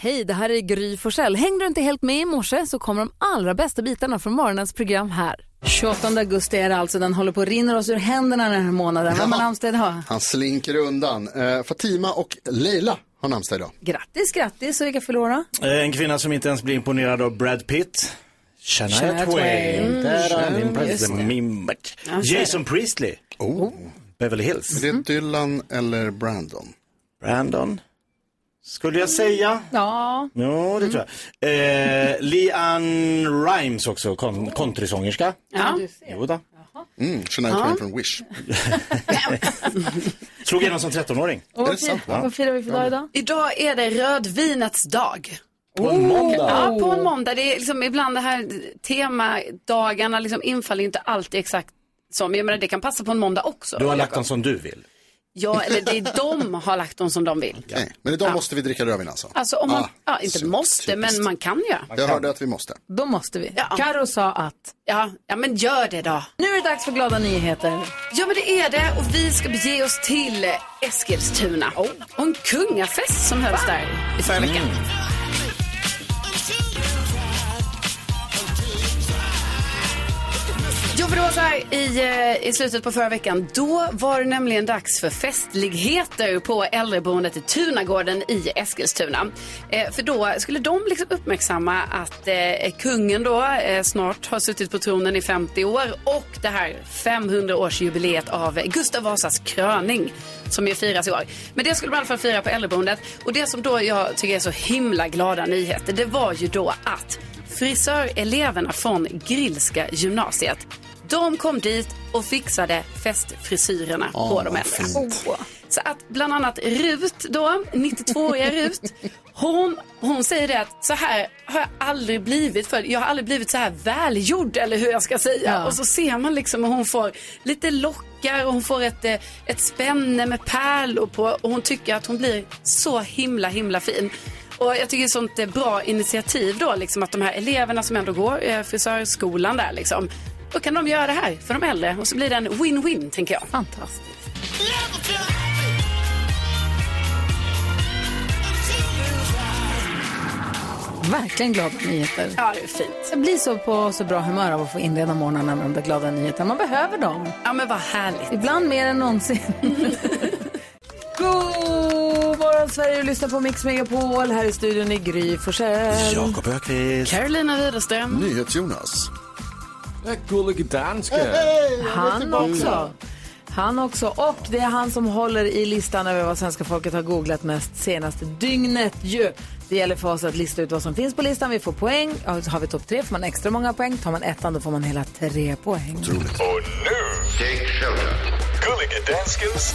Hej, det här är Gry Forssell. Hängde du inte helt med i morse så kommer de allra bästa bitarna från morgonens program här. 28 augusti är det alltså, den håller på att rinna oss ur händerna den här månaden. Vem har namnsdag idag? Han slinker undan. Eh, Fatima och Leila har namnsdag idag. Grattis, grattis och vilka förlorar? Eh, En kvinna som inte ens blir imponerad av Brad Pitt. Shania Shania Twain. Twain. Där har Mm, din just president. det. Min match. Jason Priestley. Oh. Beverly Hills. Mm. Det är Dylan eller Brandon. Brandon. Skulle jag säga. Ja, Jo, det tror jag. Eh, Leanne Rimes också, kon- countrysångerska. ja. Jo då. Mm, Shania Twain från Wish. Slog igenom som 13-åring. Och Är det sant? Ja. vad firar vi för dag idag? Idag är det rödvinets dag. På en måndag. Ja, på en måndag. Det är liksom ibland det här temadagarna liksom infaller ju inte alltid exakt som. Jag menar, det kan passa på en måndag också. Du har lagt dem som du vill. Ja, eller det är de har lagt dem som de vill. Nej, men idag måste vi dricka rödvin alltså. Alltså om man, Ah, ja, inte så måste, men man kan ju. Jag hörde att vi måste. Då måste vi. Ja. Karo sa att Ja, ja, men gör det då. nu är det dags för glada nyheter. Ja, men det är det och vi ska bege oss till Eskilstuna. Och en kungafest som hölls där i förra veckan. Jo, för det var så här i, eh, i slutet på förra veckan. Då var det nämligen dags för festligheter på äldreboendet i Tunagården i Eskilstuna. Eh, för då skulle de liksom uppmärksamma att eh, kungen då eh, snart har suttit på tronen i 50 år och det här 500-årsjubileet av Gustav Vasas kröning som ju firas i år. Men det skulle man i alla fall fira på äldreboendet. Och det som då jag tycker är så himla glada nyheter, det var ju då att frisöreleverna från Grillska gymnasiet de kom dit och fixade festfrisyrerna på Åh, de Oh. äldre. fint. Så att bland annat Rut då, 92-åriga Rut, hon, hon säger det att så här har jag aldrig blivit för jag har aldrig blivit så här välgjord eller hur jag ska säga. Ja. Och så ser man liksom hur hon får lite lockar och hon får ett, eh, ett spänne med pärlor på och hon tycker att hon blir så himla himla fin. Och jag tycker det är sånt eh, bra initiativ då liksom att de här eleverna som ändå går eh, frisörskolan där liksom. Då kan de göra det här för de äldre och så blir det en win-win tänker jag. Fantastiskt. Verkligen glada nyheter. Ja, det är fint. Jag blir så på så bra humör av att få inleda morgnarna med de där glada nyheterna. Man behöver dem. Ja men vad härligt. Ibland mer än någonsin. God morgon Sverige, du lyssnar på Mix Megapol. Här i studion i Gry Forssell. Jakob Öqvist. Carolina Widerström. NyhetsJonas. Gullige danske. Han Mm, också. Han också. Och det är han som håller i listan över vad svenska folket har googlat mest senaste dygnet ju. Det gäller för oss att lista ut vad som finns på listan. Vi får poäng. Ja, så Har vi topp tre får man extra många poäng. Tar man ettan då får man hela tre poäng. Och nu, Jake Shelton. Gullige Danskens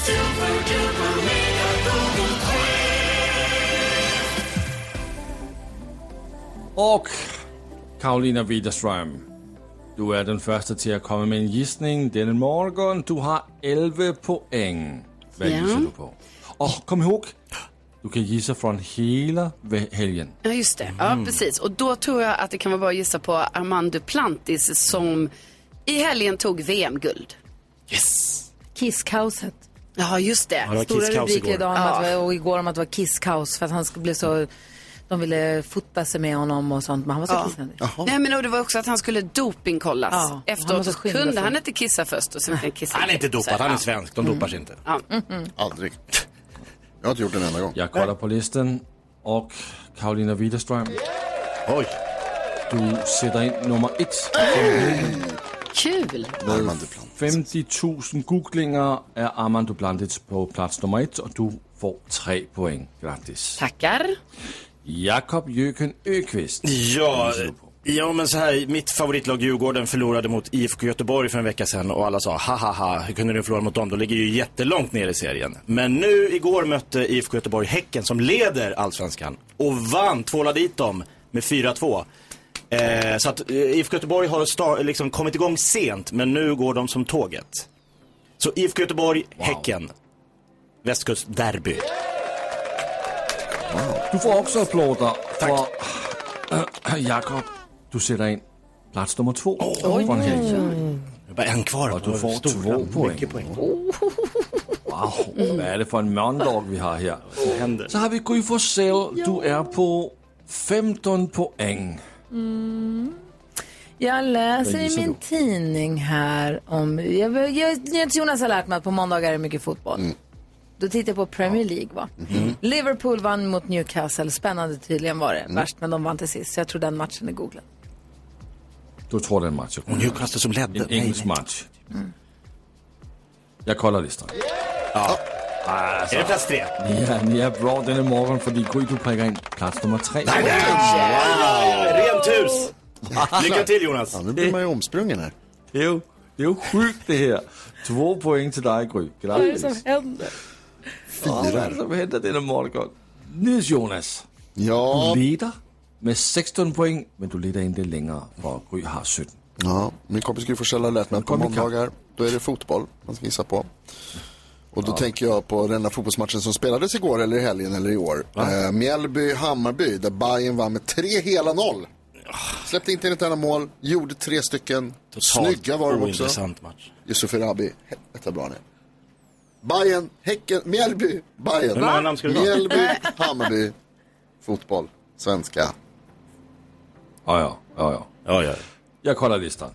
Och Karolina Widerström. Du är den första till att komma med en gissning denna morgon. Du har 11 poäng. Vad Ja. gissar du på? Och kom ihåg, du kan gissa från hela ve- helgen. Ja, just det. Mm. Ja, precis. Och då tror jag att det kan vara bra att gissa på Armand Duplantis som i helgen tog VM-guld. Kisskaoset. Ja, just det. det var Stora kisskaos rubriker igår. idag om Ja. att, och igår om att det var kisskaos för att han skulle bli så... De ville fota sig med honom och sånt, men han var så kissnödig. Nej, men och det var också att han skulle dopingkollas. Ja, han Efteråt måste så skynda kunde sig. han inte kissa först och sen fick han kissa. Han är inte dopad, han är svensk. De dopar sig inte. Aldrig. Jag har inte gjort det en enda gång. Jag kollar på listan och Karolina Widerström, Oj. du sätter in nummer ett. Kul! Armand Duplan. 50 000 googlingar är Armand Duplantis på plats nummer ett och du får 3 poäng. Grattis. Tackar. Jakob Jöken Öqvist. Ja, ja, men så här, mitt favoritlag Djurgården förlorade mot IFK Göteborg för en vecka sedan och alla sa ha ha ha, hur kunde ni förlora mot dem? De ligger ju jättelångt ner i serien. Men nu igår mötte IFK Göteborg Häcken som leder Allsvenskan och vann, tvålade dit dem med 4-2. Eh, så att eh, IFK Göteborg har sta- liksom kommit igång sent, men nu går de som tåget. Så IFK Göteborg, Häcken, västkustderby. Du får också applåder. Tack. Jakob, du sätter in plats nummer två. från helgen. Det är bara en kvar. Och du får två poäng. Mycket poäng. Wow, hvad er det for en mørndog, vi har her? Så har vi Gry Forssell. Du er på 15 point. Jag läser Vad i gissar min du? tidning här om... Jag, jag, jag, Jonas har lärt mig att på måndagar är det mycket fotboll. Då tittar jag på Premier League. Va? Liverpool vann mot Newcastle. Spännande tydligen var det. Värst, men de vann till sist. Så jag tror den matchen är googlad. Du tror, det er en match. jeg Och kunne have. Newcastle som ledde. En engelsk match. Jeg kolder listerne. Är det plats tre? Ja, ni er bra denne morgen, fordi Gry, du prikker ind plads nummer 3. Rent hus! Lycka till Jonas! Ja, nu blir man ju omsprungen här. Det er jo, det er jo sjukt, det her. To point til dig, Gry. Grattis. händer? Åh, Hvad er det, som henter denne morgen godt? Niels Jonas. Ja, leder med 16 point, men du leder inte längre för Gry har 17. ja. min kompis Gry Forssell har lärt mig att på Kom ikapp. måndagar, då är det fotboll man ska gissa på. Och då tänker jag på den här fotbollsmatchen som spelades igår eller i helgen eller i år. Eh, Mjällby-Hammarby, där Bayern vann med tre hela noll. Släppte inte in ett enda mål, gjorde tre stycken. Snygga var de också. Ointressant match. Yusuf Erabi, helvete bra ni Bayern, Häcken, Mjällby, Bayern. Hur många namn ska det vara? Mjällby, Hammarby, fotboll, svenska. Ja, ja, ja, ja. Ja, ja. Jag kollar listan.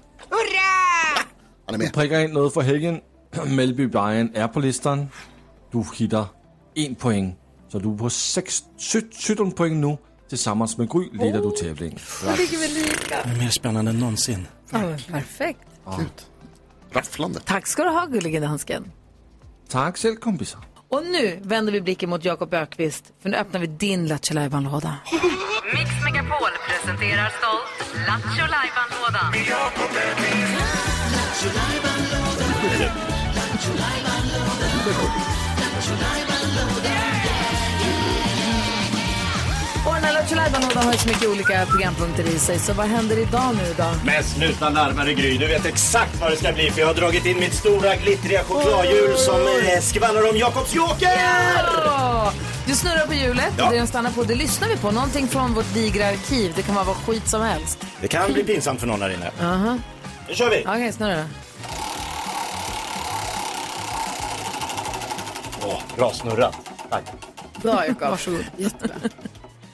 Han är med. Prikker ind noget for helgen. Melby Bayern er på listan. Du hitter 1 point, så du er på 6, 17 point nu. Tillsammans med Gry leder du tävlingen. Oh. Det är mer spännande än någonsin. perfekt. Rafflande. Tack ska du ha, gullige dansken. Tak selv, kompisar. Och nu vänder vi blicken mot Jakob Ökvist. för nu öppnar vi din Lattjo låda Mix Megapol presenterar stolt Lattjo Lajban-lådan. Och den här Lattjo lådan har ju så mycket olika programpunkter i sig, så vad händer idag nu då? Men sluta närmare Gry, du vet exakt vad det ska bli för jag har dragit in mitt stora glittriga chokladdjur som eh, skvallrar om Jakobs joker! Ja! Du snurrar på hjulet, Ja. det den stannar på, det lyssnar vi på. Någonting från vårt digra arkiv, det kan vara vad skit som helst. Det kan bli pinsamt för någon här inne. Nu kör vi! Okej, snurra då. Åh, bra snurrat. Tack. Bra Jakob.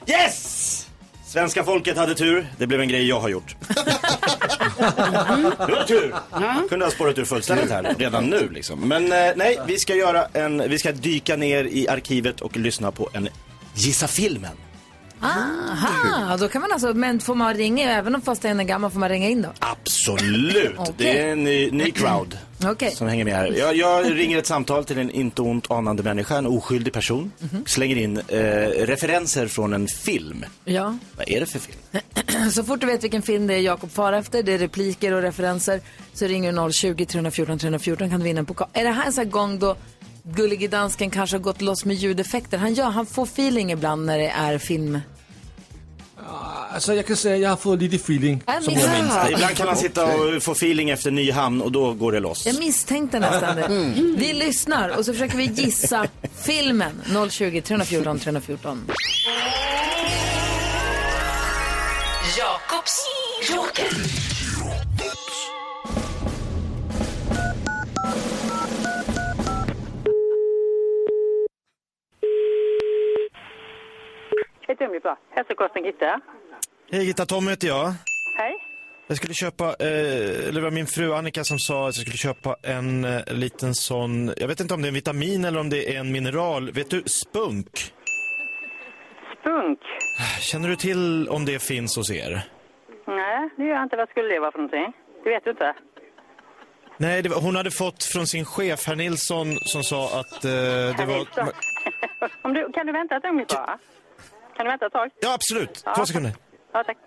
Yes! Svenska folket hade tur. Det blev en grej jag har gjort. Mm. det var tur! Kunde ha spårat ur fullständigt här redan nu liksom. Men eh, nej, vi ska göra en, vi ska dyka ner i arkivet och lyssna på en Gissa filmen. Aha, då kan man alltså, men får man ringa, även om fast den är gammal, får man ringa in då? Absolut! Okej. Det är en ny, ny crowd Okej. som hänger med här. Jag, jag ringer ett samtal till en inte ont anande människa, en oskyldig person. Mhm. Slänger in eh, referenser från en film. Ja. Vad är det för film? Så fort du vet vilken film det är Jakob far efter, det är repliker och referenser, så ringer du 020 314 314 kan du vinna en pokal. Är det här en sån här gång då Gullige Dansken kanske har gått loss med ljudeffekter? Han, gör, han får feeling ibland när det är film. Altså, jeg kan sige, at jeg har fået lidt feeling, Ja, som men- jeg mindste. Ibland kan man sitta och få feeling efter Nyhamn och då går det loss. Jag misstänkte nästan det. Mm. Vi lyssnar och så försöker vi gissa filmen. 020 314 314. Jakobs joker. Ett ögonblick bara. Hälsokostning Gitta. Hej Gitta, Tommy heter jag. Hej. Jag skulle köpa, eh, eller det var min fru Annika som sa att jag skulle köpa en eh, liten sån, jag vet inte om det är en vitamin eller om det är en mineral. Vet du, spunk? Spunk. Känner du till om det finns hos er? Nej, det gör jag inte. Vad skulle det vara för någonting? Det vet du inte. Nej, det var, hon hade fått från sin chef, herr Nilsson, som sa att eh, det var... Nilsson. Om du, kan du vänta ett ögonblick bara? Kan du vänta ett tag? Ja, absolut. Två sekunder. Ja, tack.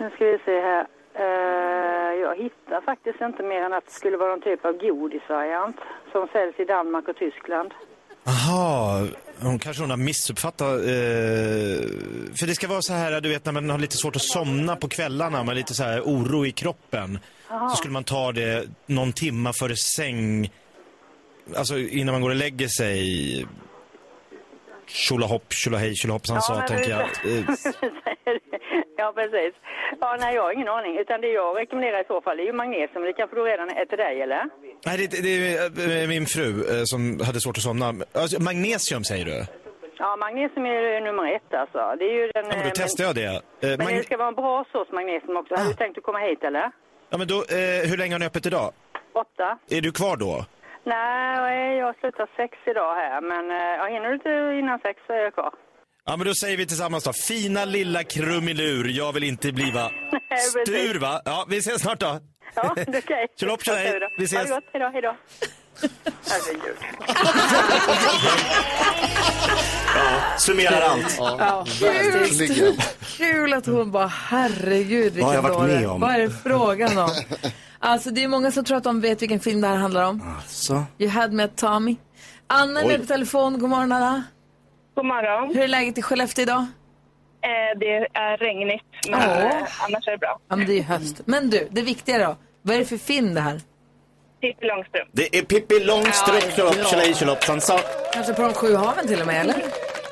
Nu ska vi se här. Eh, jag hittar faktiskt inte mer än att det skulle vara någon typ av godisvariant som säljs i Danmark och Tyskland. Aha, hon kanske hon har missuppfattat. Eh, för det ska vara så här, du vet när man har lite svårt att somna på kvällarna med lite så här oro i kroppen. Så skulle man ta det någon timma före säng, alltså innan man går och lägger sig. Tjolahopp, tjolahej, tjolahoppsan sa, men tänker nu- jag. Eh, Säger du. ja, precis. Ja, nej, jag har ingen aning. Utan det jag rekommenderar i så fall är ju magnesium. Det kanske du redan är till dig, eller? Nej, det, det är eh, min fru eh, som hade svårt att somna. Alltså, magnesium säger du? Ja, magnesium är ju nummer ett alltså. Det är ju den... Ja, men då eh, testar jag Ah. det. Eh, Men mag- det ska vara en bra sorts magnesium också. Har du tänkt att komma hit eller? ja, men då, eh, hur länge har ni öppet idag? Åtta? Är du kvar då? Nej, jag slutar sex idag här. Men eh, ja, hinner du inte innan sex så är jag kvar. Ja, men då säger vi tillsammans då. Fina lilla krumelur, jag vill inte bliva precis. stur va? Ja, vi ses snart då. Ja, det är okej. Tjolopp, tjolaj. Ha det Vi ses. gott. Hej då, hej då. Herregud. Summerar allt. Ja, Kul, verkligen. kul att hon bara, herregud vilken Vad har jag varit dåre. med om? Vad är det frågan om? Alltså det är många som tror att de vet vilken film det här handlar om. Så. You had me at Tommy. Anna är Oj. med på telefon. God morgon Anna. God morgon. Eh, Hur är läget i Skellefteå idag? det är regnigt, men eh, annars är det bra. Ja men det är ju höst. Men du, det viktiga då. Vad är det för film det här? Pippi Långstrump. Det är Pippi Långstrump, tjolopp, tjolaj, tjolopp, sansa. Kanske på de sju haven till och med eller?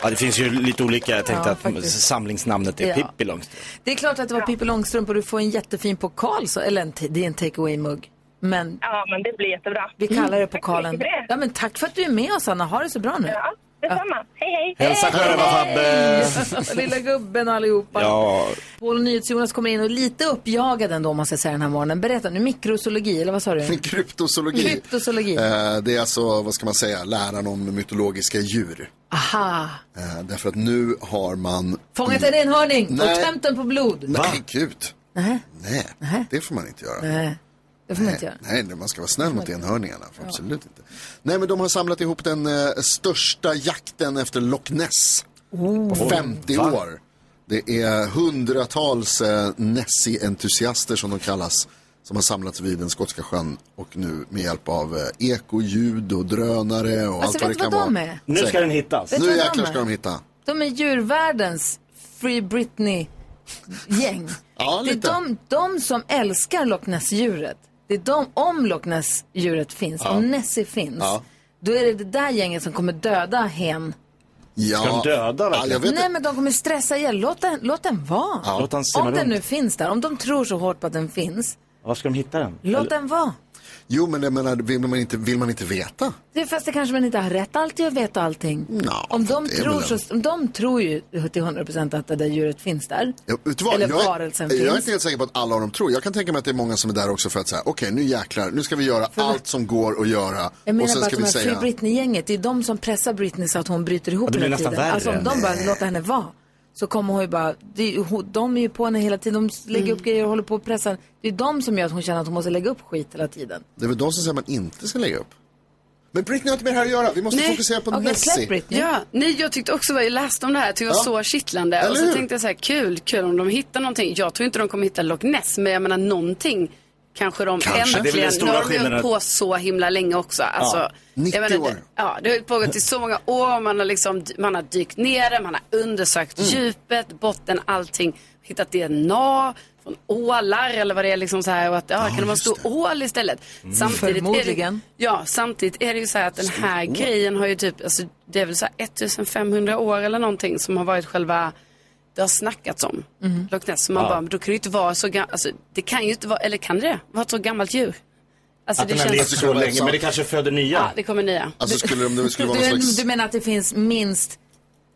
Ja, det finns ju lite olika. Jag tänkte Ja, att faktiskt. samlingsnamnet är Ja. Pippi Långstrump. Det är klart att det var Pippi Långstrump och du får en jättefin pokal. Så, eller en t- det är en take away-mugg. Men Ja, men det blir jättebra. vi kallar det pokalen. mycket för det. Ja, men tack för att du är med oss Anna. Ha det så bra nu. Ja, detsamma. Hej, hej. Hälsa Sjörövarfabbe! Lilla gubben allihopa. Ja, Paul och NyhetsJonas kommer in och lite uppjagad ändå om man ska säga den här morgonen. Berätta nu, mikrozoologi eller vad sa du? Kryptozoologi. Kryptozoologi. Eh, det är alltså, vad ska man säga, läran om mytologiska djur. Aha. Eh, därför att nu har man... Fångat en enhörning och Nej. tömt den på blod. Nej, gud. Nej. Nej, det får man inte göra. Nej, det får man inte göra. Nej, nej, man ska vara snäll mot enhörningarna. För Absolut inte. Nej, men de har samlat ihop den eh, största jakten efter Loch Ness på Oh. 50 år. Det är hundratals eh, Nessie-entusiaster som de kallas som har samlats vid den skotska sjön och nu med hjälp av eh, ekoljud och drönare och Alltså allt vad det vet du kan vad de vara. är? nu ska den hittas. Vet du Nu vad de jäklar ska är? de hitta. De är djurvärldens Free Britney-gäng. Ja, det är lite. de, de som älskar Loch Ness-djuret. Det är de, om Loch Ness-djuret finns, om Nessie finns, Ja. då är det det där gänget som kommer döda hen. Ja. Ska de döda ja, jag verkligen? vet Nej, inte. men de kommer stressa ihjäl. Låt den, låt den vara. Låt han simma Om den runt. nu finns där, om de tror så hårt på att den finns, Var ska de hitta den? låt Eller- den vara. Jo, men jag menar, vill man inte, vill man inte veta? Det är fast det kanske man inte har rätt alltid att veta allting. Nå, om, de det är tror väl en- så, om de tror ju till 100 procent att det där djuret finns där. Ja, vet du vad? Eller jag, varelsen jag är finns. inte helt säker på att alla av dem tror. Jag kan tänka mig att det är många som är där också för att säga, okej nu jäklar, nu ska vi göra allt som går att göra. Jag och menar sen bara att ska de vi här säga, Free Britney-gänget, det är de som pressar Britney så att hon bryter ihop Ja, det blir hela nästan tiden. värre. Alltså om de bara låter henne vara så kommer hon ju bara, det är, ju hon, de är ju på henne hela tiden, de lägger Mm. upp grejer och håller på och pressar. Det är de som gör att hon känner att hon måste lägga upp skit hela tiden. det är väl de som säger att man inte ska lägga upp. Men Britney har inte med det här att göra, vi måste Nej. fokusera på Okej, släpp Nessie. Britney. Ja, nej jag tyckte också, jag läste om det här, det var Ja. så kittlande. Eller och så hur? tänkte jag så här, kul, kul om de hittar någonting. Jag tror inte de kommer hitta Loch Ness, men jag menar någonting kanske de Kanske. Det är väl den äntligen, nu stora har de ju hållit skillnaden. på så himla länge också. Alltså, Ja, jag 90 menar, det- år. Ja, det har ju pågått i så många år, man har, liksom, man har dykt ner det, man har undersökt Mm. djupet, botten, allting. Hittat DNA från ålar eller vad det är liksom så här. Och att, ja, kan det vara en stor ål istället? Mm. Samtidigt Är det, Förmodligen. Ja, samtidigt är det ju så här att den här grejen har ju typ, alltså, det är väl så här 1500 år eller någonting som har varit själva, det har snackats om Loch Ness. Så man bara, men då kan det ju inte vara så gammalt, alltså, det kan ju inte vara, eller kan det vara ett så gammalt djur? Alltså Att det den har levt känns, så länge, men det kanske föder ja nya. det kommer nya. Alltså skulle de, det skulle vara någon Du, slags... du menar att det finns minst,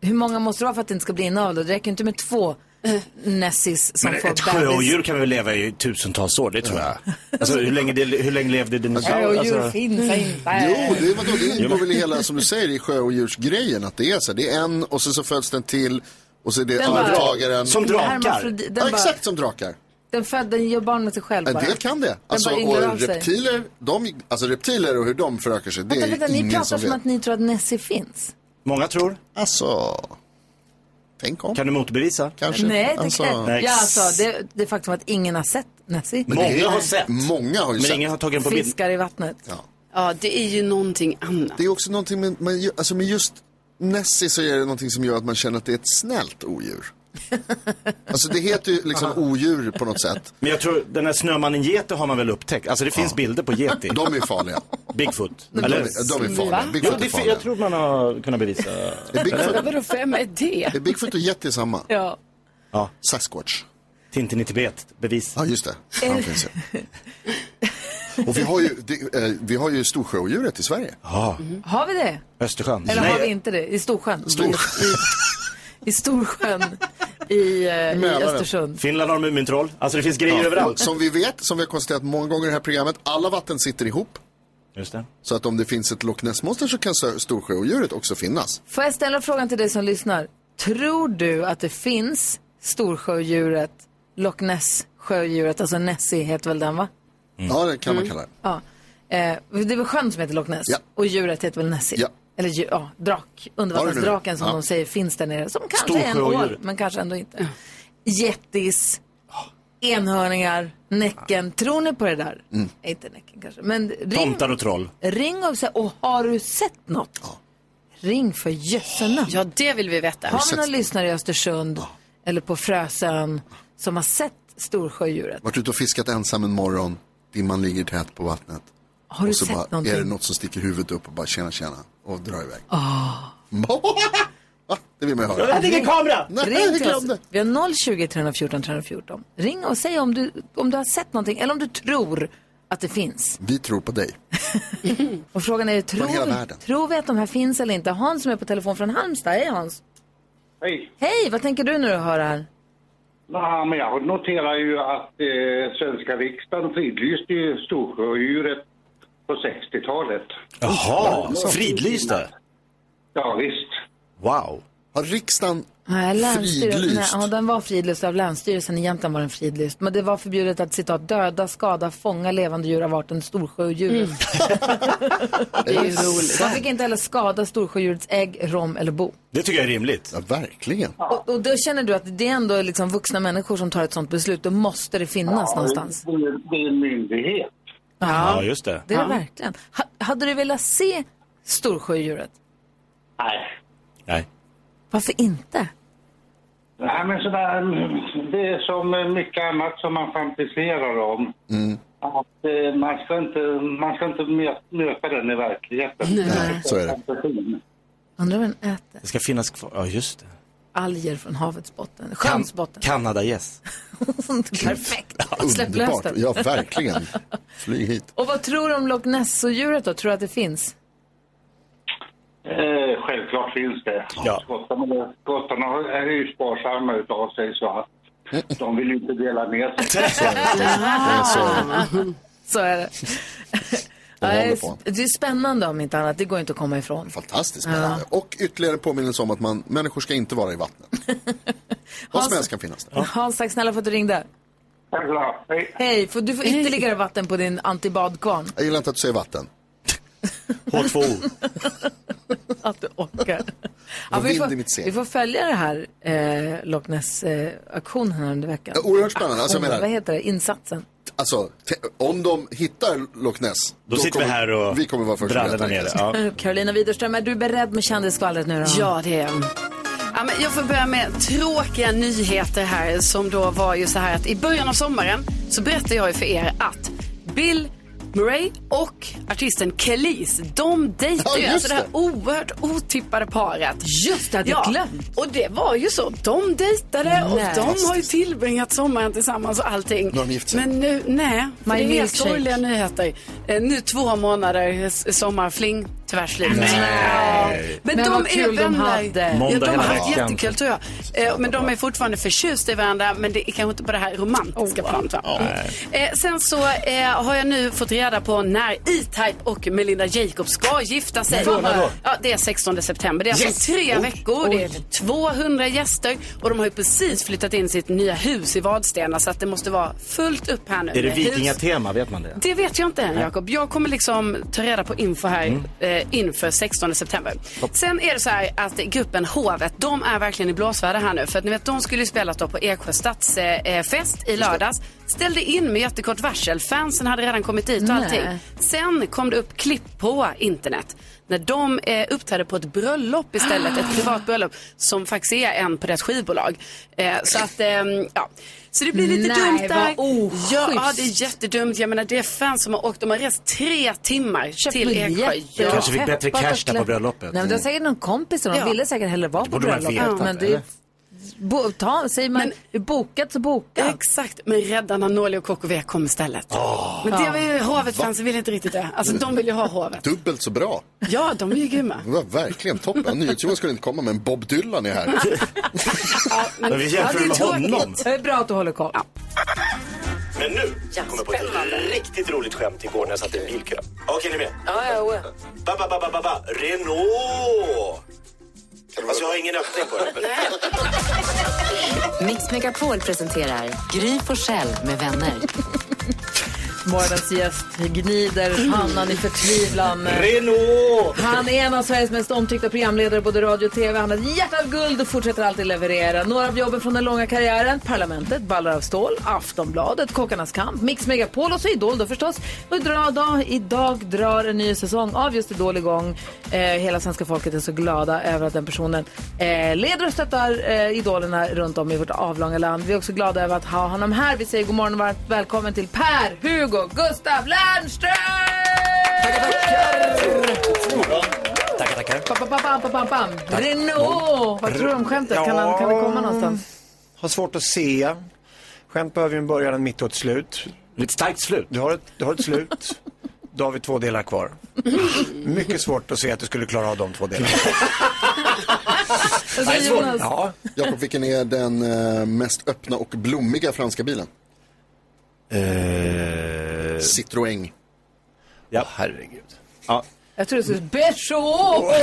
hur många måste det vara för att det inte ska bli inavel då? Det räcker ju inte med två Eh. Nessies som Men får ett bebis. sjöodjur kan väl leva i tusentals år, det tror jag. Alltså, hur, länge det, hur länge levde dinosaurier? Sjöodjur Alltså, finns inte. Jo, det, är- vadå, det ingår väl i hela, som du säger, i sjöodjursgrejen. Att det är så här, det är en och så, så föds den till och så är det Den bara- arvtagaren. som drakar. Hermafrodi- Den, Ja, bara, exakt som drakar. den, föd, den gör barn med sig själv En bara. del kan det. Alltså, bara ynglar av och sig. reptiler, de, alltså reptiler och hur de förökar sig, det Vänta, är vänta, ju ni ingen pratar som som vet. att ni tror att Nessie finns. Många tror. Alltså, tänk om Kan du motbevisa? kanske. Nej, det alltså, kan Nej. Ja, alltså, det, det faktum att ingen har sett Nessie. Men Många har Nej. sett. Många har ju Men sett. ingen har tagit den på bild. Fiskar i vattnet. Ja, det är ju någonting annat. Det är också någonting med, med, ju- alltså med just Nessie så är det någonting som gör att man känner att det är ett snällt odjur. alltså det heter ju liksom odjur på något sätt. Men jag tror, den här snömannen Gete har man väl upptäckt? Alltså det finns bilder på Yeti. De är farliga. Bigfoot. De Eller? är, de är Va? farliga. Jo, Bigfoot det, är fin- farliga. jag tror man har kunnat bevisa. Är Bigfoot, Vadå, vem är det? är Bigfoot och Yeti samma? Ja. Sasquatch. Tintin i Tibet, bevis. Ja, just det. Ja, Eh. okej, så. Och vi har ju, det, eh, vi har ju Storsjöodjuret i Sverige. Ja, Har vi det? Östersjön. Eller Nej, har vi inte det? I Storsjön? Stor- I, i, i Storsjön i, eh, i Mälaren. Östersund. Finland har Mumintroll. Alltså det finns grejer Ja, överallt. som vi vet, som vi har konstaterat många gånger i det här programmet, alla vatten sitter ihop. Just det. Så att om det finns ett Loch Ness-monster så kan Sö- Storsjöodjuret också finnas. Får jag ställa frågan till dig som lyssnar? Tror du att det finns Storsjöodjuret, Loch Ness-sjöodjuret, alltså Nessie heter väl den va? Mm. Ja, det kan man kalla det. Ja. Eh, det är väl sjön som heter Loch Ness? Ja. Och djuret heter väl Nessie? Ja. Eller djur- ja, drak, undervattensdraken som de säger finns där nere. Som kanske är en ål, Storsjöodjuret. men kanske ändå inte. Jättis, enhörningar, Näcken. Tror ni på det där? Mm. Nej, Inte Näcken kanske, men ring, Tomtar och troll. ring och säg, och har du sett något? Ring för jössenöt. Ja, det vill vi veta. Har vi någon lyssnare i Östersund eller på Frösön som har sett Storsjödjuret? Vart ute och fiskat ensam en morgon, dimman ligger tät på vattnet. Har du och så sett bara, är det någonting? något som sticker huvudet upp och bara tjena tjena och drar iväg. Va? det vill man ju höra. Där ligger kamera! Nej, Ring jag till oss. glömde. Vi har 020 314 314. Ring och säg om du, om du har sett någonting eller om du tror att det finns. Vi tror på dig. Och frågan är, hela tror, världen. tror vi att de här finns eller inte? Hans som är på telefon från Halmstad, hej Hans. Hej. Hej, vad tänker du när du hör det här? Nej, men jag noterar ju att eh, svenska riksdagen fridlyste ju Storsjöodjuret på 60-talet. Jaha, fridlysta. Ja, visst. Wow. Har riksdagen Nej, länsstyre- Nej, fridlyst? ja, den var fridlyst av Länsstyrelsen. Egentligen var den fridlyst. Men det var förbjudet att citat, döda, skada, fånga levande djur av arten storsjöodjur. Det är Man fick inte heller skada storsjödjurets ägg, rom eller bo. Det tycker jag är rimligt. Ja, verkligen. Och, och då känner du att det är ändå liksom vuxna människor som tar ett sånt beslut. Då måste det finnas någonstans. Det, är- det är en myndighet. Ja, just det. Det är det verkligen. Ha, hade du velat se storsjödjuret? Nej. Nej. Varför inte? Nej, men sådär, det är som mycket annat som man fantiserar om. Mm. Att eh, man ska inte, man ska inte mö- möta den i verkligheten. Nej, så är det. Fantasin. Undrar vad den äter? Det ska finnas kvar. Ja, just det. Alger från havets botten, Kan- sjöns botten. Kanadagäss. Perfekt. Släpp lös Underbart. den. Ja, verkligen. Flyg hit. Och vad tror du om Loch Ness-djuret då? Tror du att det finns? Eh, självklart finns det. Ja. Skottarna, skottarna är ju sparsamma utav sig så att de vill ju inte dela med sig. Så är det. Ja, håller det, på. är, det är spännande om inte annat. Det går inte att komma ifrån. Fantastiskt spännande. Och ytterligare påminnelse om att man, människor ska inte vara i vattnet. Alltså- Vad som helst kan finnas där. Hans, tack snälla för att du ringde. Självklart. Hej. Hej, får du får ytterligare vatten på din antibadkvarn. Jag gillar inte att du säger vatten. H2O. Att du orkar. Ja, Vad vi, vind i mitt får, segel. vi får följa det här eh, Loch Ness-aktionen här under veckan. Ja, Oerhört spännande. Alltså, jag Aktionen, vad menar, heter det? Insatsen. alltså, te- om de hittar Loch Ness. Då sitter vi kommer- här och Vi kommer vara först brallar där nere. Ja. Eh, Carolina Widerström, är du beredd med kändisskvallret nu då? Ja, det är jag. Ja, men jag får börja med tråkiga nyheter här som då var ju så här att i början av sommaren så berättade jag ju för er att Bill Murray och artisten Kelis, de dejtar ju Ja, just alltså det här det. oerhört otippade paret. Just det, hade jag Ja, glömt. och det var ju så. De dejtade och Nej. de har ju tillbringat sommaren tillsammans och allting. Nu har de gift sig. Men nu, nej, för My det är helt milkshake. sorgliga nyheter. Eh, nu två månader s- sommarfling, tyvärr slut. Ja. Men, Men de vad är kul de vänner. hade. Ja, Måndag de har hela haft veckan. jättekul tror jag. Eh, Men de är fortfarande förtjusta i varandra men det är kanske inte på det här romantiska Oh. planet. va? Eh, Sen så eh, har jag nu fått reda på när E-Type och Melinda Jacobs ska gifta sig. Ja, det är 16 september. Det är alltså om tre veckor. Det är 200 gäster och de har ju precis flyttat in sitt nya hus i Vadstena så att det måste vara fullt upp här nu. Är det med hus. vikingatema? Vet man det? Det vet jag inte än, Jakob. Jag kommer liksom ta reda på info här Mm. eh, inför 16 september. Sen är det så här att gruppen Hovet, de är verkligen i blåsväder här nu. För att ni vet, de skulle ju spelat då på Eksjö stadsfest eh, fest i lördags. Ställde in med jättekort varsel. Fansen hade redan kommit dit och Nej. allting. Sen kom det upp klipp på internet när de eh, uppträdde på ett bröllop istället, Ah. ett privat bröllop som faktiskt är en på deras skivbolag. Eh, så att, ehm, ja. Så det blir lite Nej, dumt där. vad oschysst. ja, ja, det är jättedumt. Jag menar, det är fans som har åkt, de har rest tre timmar till Eksjö. biljetter. Ja. Kanske fick bättre Peppat och cash där på klätt- bröllopet. Nej, men det var säkert någon kompis och de Ja. ville säkert hellre vara på borde man bröllopet. vetat, men det är eller? bo, ta, säger man bokat så bokat. Exakt, men rädda Nanoli och KKV kom istället. Men det var ju hovet fanns, ville inte riktigt det. Alltså de vill ju ha hovet. Dubbelt så bra. Ja, de är ju grymma. Det var verkligen toppen. NyhetsJonas skulle inte komma, men Bob Dylan är här. Men vi jämför med honom. Det är bra att du håller koll. Men nu kom jag på ett riktigt roligt skämt igår när jag satt i en bilkö. Okej, ni är med? Ba, ba, ba, ba, ba, ba. Renault! Alltså, jag har ingen öppning på det. Mix Megapol presenterar Gry Forssell med vänner. Morgonens gäst gnider pannan i förtvivlan. Renault! Han är en av Sveriges mest omtyckta programledare, både radio och tv. Han har ett hjärta av guld och fortsätter alltid leverera. Några av jobben från den långa karriären. Parlamentet, Ballar av stål, Aftonbladet, Kockarnas kamp, Mix Megapol och så Idol då förstås. Och idag, dag, idag drar en ny säsong av just Idol igång. Eh, hela svenska folket är så glada över att den personen eh, leder och stöttar eh, idolerna runt om i vårt avlånga land. Vi är också glada över att ha honom här. Vi säger god morgon och varmt välkommen till Per Hugo Gustav Lernström! Bam, bam, bam, bam, bam, bam. Renault! Vad tror du om skämtet? Kan, han, kan det komma någonstans? Har svårt att se. Skämt behöver ju en början, en mitt och ett slut. Lite starkt slut. Du har ett, du har ett slut. Då har vi två delar kvar. Mycket svårt att se att du skulle klara av de två delarna. Vad säger Jonas? Ja. Jakob, vilken är den eh, mest öppna och blommiga franska bilen? Eh. Citroën. ja, Eh, herregud. Jag tror det skulle Peugeot!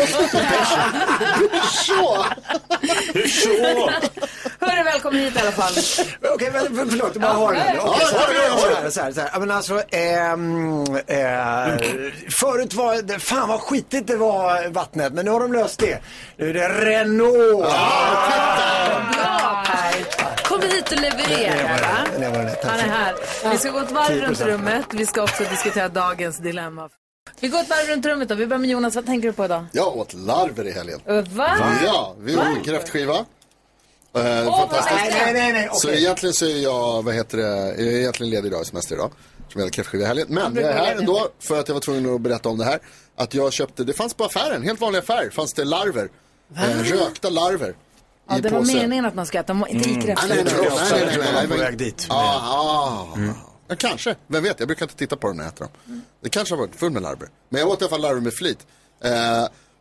Hur så? Hörru, välkommen hit i alla fall. Okej, men för- förlåt, jag bara har den. Ja, så här, så här, så här, så här. Ja, Men alltså, ehm, eh, förut var det, fan vad skitigt det var vattnet, men nu har de löst det. Nu är det Renault. Bra Per! Kom hit och leverera. va? Det var det. Han är här. Vi ska gå ett varv runt rummet. Vi ska också diskutera dagens dilemma. Vi går ett varv runt rummet då. Vi börjar med Jonas. Vad tänker du på idag? Jag åt larver i helgen. Ö, Va? Ja, vi åt kräftskiva. Eh, Åh, vad fantastiskt. härligt. Nej, nej, nej. Så okej. egentligen så är jag, vad heter det, jag är egentligen ledig idag, semester idag. Som jag hade kräftskiva i helgen. Men jag brukar är vara här ledig. ändå för att jag var tvungen att berätta om det här. Att jag köpte, det fanns på affären, helt vanlig affär, fanns det larver. Eh, rökta larver. Ja, i det var påse. meningen att man ska äta, inte i Ah, nej, nej, kräftor. nej, nej, nej, nej, nej, Jag var nej, på nej. väg dit. Ja, ah, ja, kanske. Vem vet, jag brukar inte titta på dem när jag äter dem. Det kanske har varit full med larver. Men jag åt i alla fall larver med flit. Eh,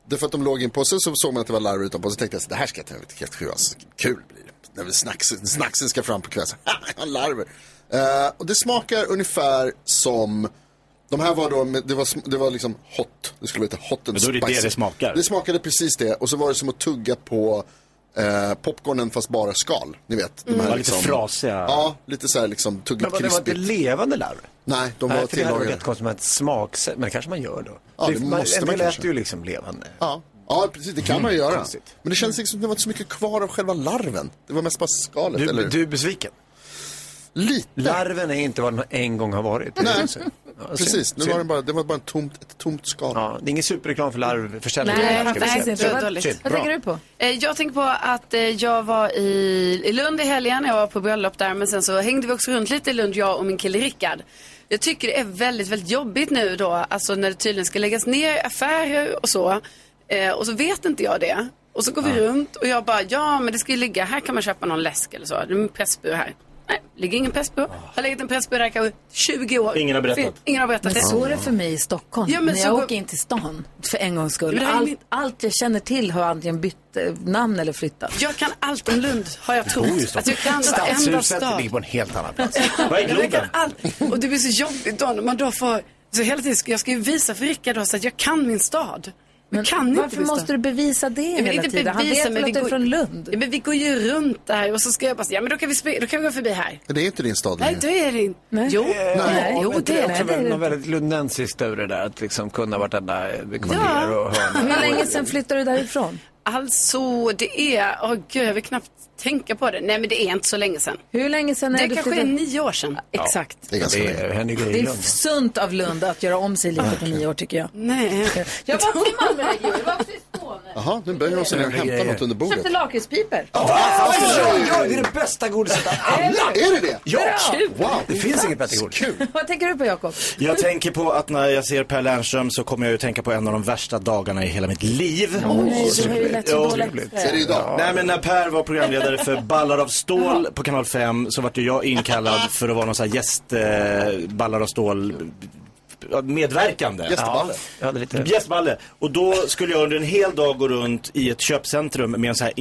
därför att de låg i en påse så såg man att det var larver utanpå. Så tänkte jag så det här ska jag ta ut till kräftskivan. Så Kul blir det. När vi snacksen, snacksen ska fram på kvällen. Så, "Ha, jag har larver. Eh, och det smakar ungefär som de här var då, med- det var, sm- det var liksom hot. Det skulle vara lite hot and Men då är det spicy. det det smakar. Det smakade precis det. Och så var det som att tugga på eh, popcornen fast bara skal. Ni vet. De här Mm. liksom- Var lite frasiga. Ja, lite så här liksom tugga Men vad, det var inte krispigt. levande larv? Nej, de var Nej, för det hade varit tillagade. jättekonstigt med ett smaksätt, men det kanske man gör då. Ja, det man, måste en man del kanske. äter ju liksom levande. Ja. ja, precis. Det kan man ju göra. konstigt. Men det känns liksom som det var inte så mycket kvar av själva larven. Det var mest bara skalet, eller Du, hur? du är besviken? Lite. Larven är inte vad den en gång har varit. Nej, Precis, nu var det bara, det var bara en tomt, ett tomt skal. Ja, det är ingen superreklam för larvförsäljning. Nej, ska vi säga. faktiskt nej, inte. det var Vad dåligt. vad tänker du på? Eh, Jag tänker på att eh, jag var i, i Lund i helgen, jag var på bröllop där, men sen så hängde vi också runt lite i Lund, jag och min kille Rickard. Jag tycker det är väldigt, väldigt jobbigt nu då, alltså när det tydligen ska läggas ner affärer och så, eh, och så vet inte jag det. Och så går vi runt och jag bara, ja men det ska ju ligga, här kan man köpa någon läsk eller så, det är en pressbur här. Nej, det ligger ingen pressbur. Har legat en pressbur där kanske 20 år. Ah. Ingen har berättat. Ingen har berättat Men det. så är det för mig i Stockholm. Ja, men när så jag går- åker in till stan, för en gångs Men skull. det här är Allt, mitt- allt jag känner till har antingen bytt eh, namn eller flyttat. Jag kan allt om Lund, har jag trott. Att jag kan varenda Stadshuset stad. ligger på en helt annan plats. Vad är Men det Globen? kan allt. Och det blir så jobbigt då när man då får, så hela tiden, ska- jag ska ju visa för Rickard då så att jag kan min stad. Men, Men kan inte varför min måste stad. du bevisa det Jag vill hela inte tiden? Han bevisa, vet men väl vi att du är går- från Lund? Ja, men vi går ju runt där och så ska jag bara säga, ja men då kan vi, spe- då kan vi gå förbi här. Men det är inte din stad Nej, längre. då är det inte. Mm. Nej. Jo, Nej, Ja, jo, men det är är Eh, också det. väl något väldigt lundensiskt över det där, att liksom kunna vartenda eh, kvarter och hörn. Hur länge sedan flyttade du därifrån? alltså det är, åh gud jag vill knappt tänka på det. Nej men det är inte så länge sedan. Hur länge sedan Det är du kanske är flyttade? nio år sedan. Exakt. Det är ganska Det länge. är- händer grejer Det i är Lund. sunt av Lund att göra om sig lite på nio år tycker jag. Nej. Jag var också i Malmöregionen, jag var också i Skåne. Jaha, nu böjer de sig ner och hämtar något under Köpte bordet. lakritspipor. Oj, oj, oj, Det är det bästa godiset av Eller alla. hur? Är det det? Ja! Kul. Wow. Det finns inget bättre godis. Vad tänker du på, Jakob? Jag tänker på att när jag ser Per Lernström så kommer jag ju tänka på en av de värsta dagarna i hela mitt liv. Åh, nej, du har ju lätt så Ja. dåligt. Är det idag? Nej, men när Per var programledare för Ballar av stål på Kanal 5 så vart ju jag inkallad för att vara någon sån här gäst, eh, Ballar av stål ja, medverkande. Gästballe. Gästballe. Och då skulle jag under en hel dag gå runt i ett köpcentrum med en sån här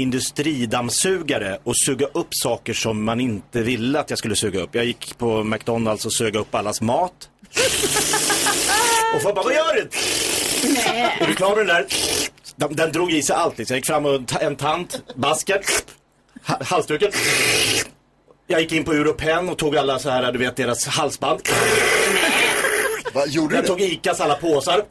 industridammsugare och suga upp saker som man inte ville att jag skulle suga upp. Jag gick på McDonalds och sög upp allas mat. Och folk bara, vad gör du? Är du klar med den där? Den, den drog i sig allt liksom. Jag gick fram och en ta- en tant, basket, ha- halsduken. Jag gick in på Europen och tog alla så här, du vet deras halsband. Vad gjorde jag tog Icas alla påsar.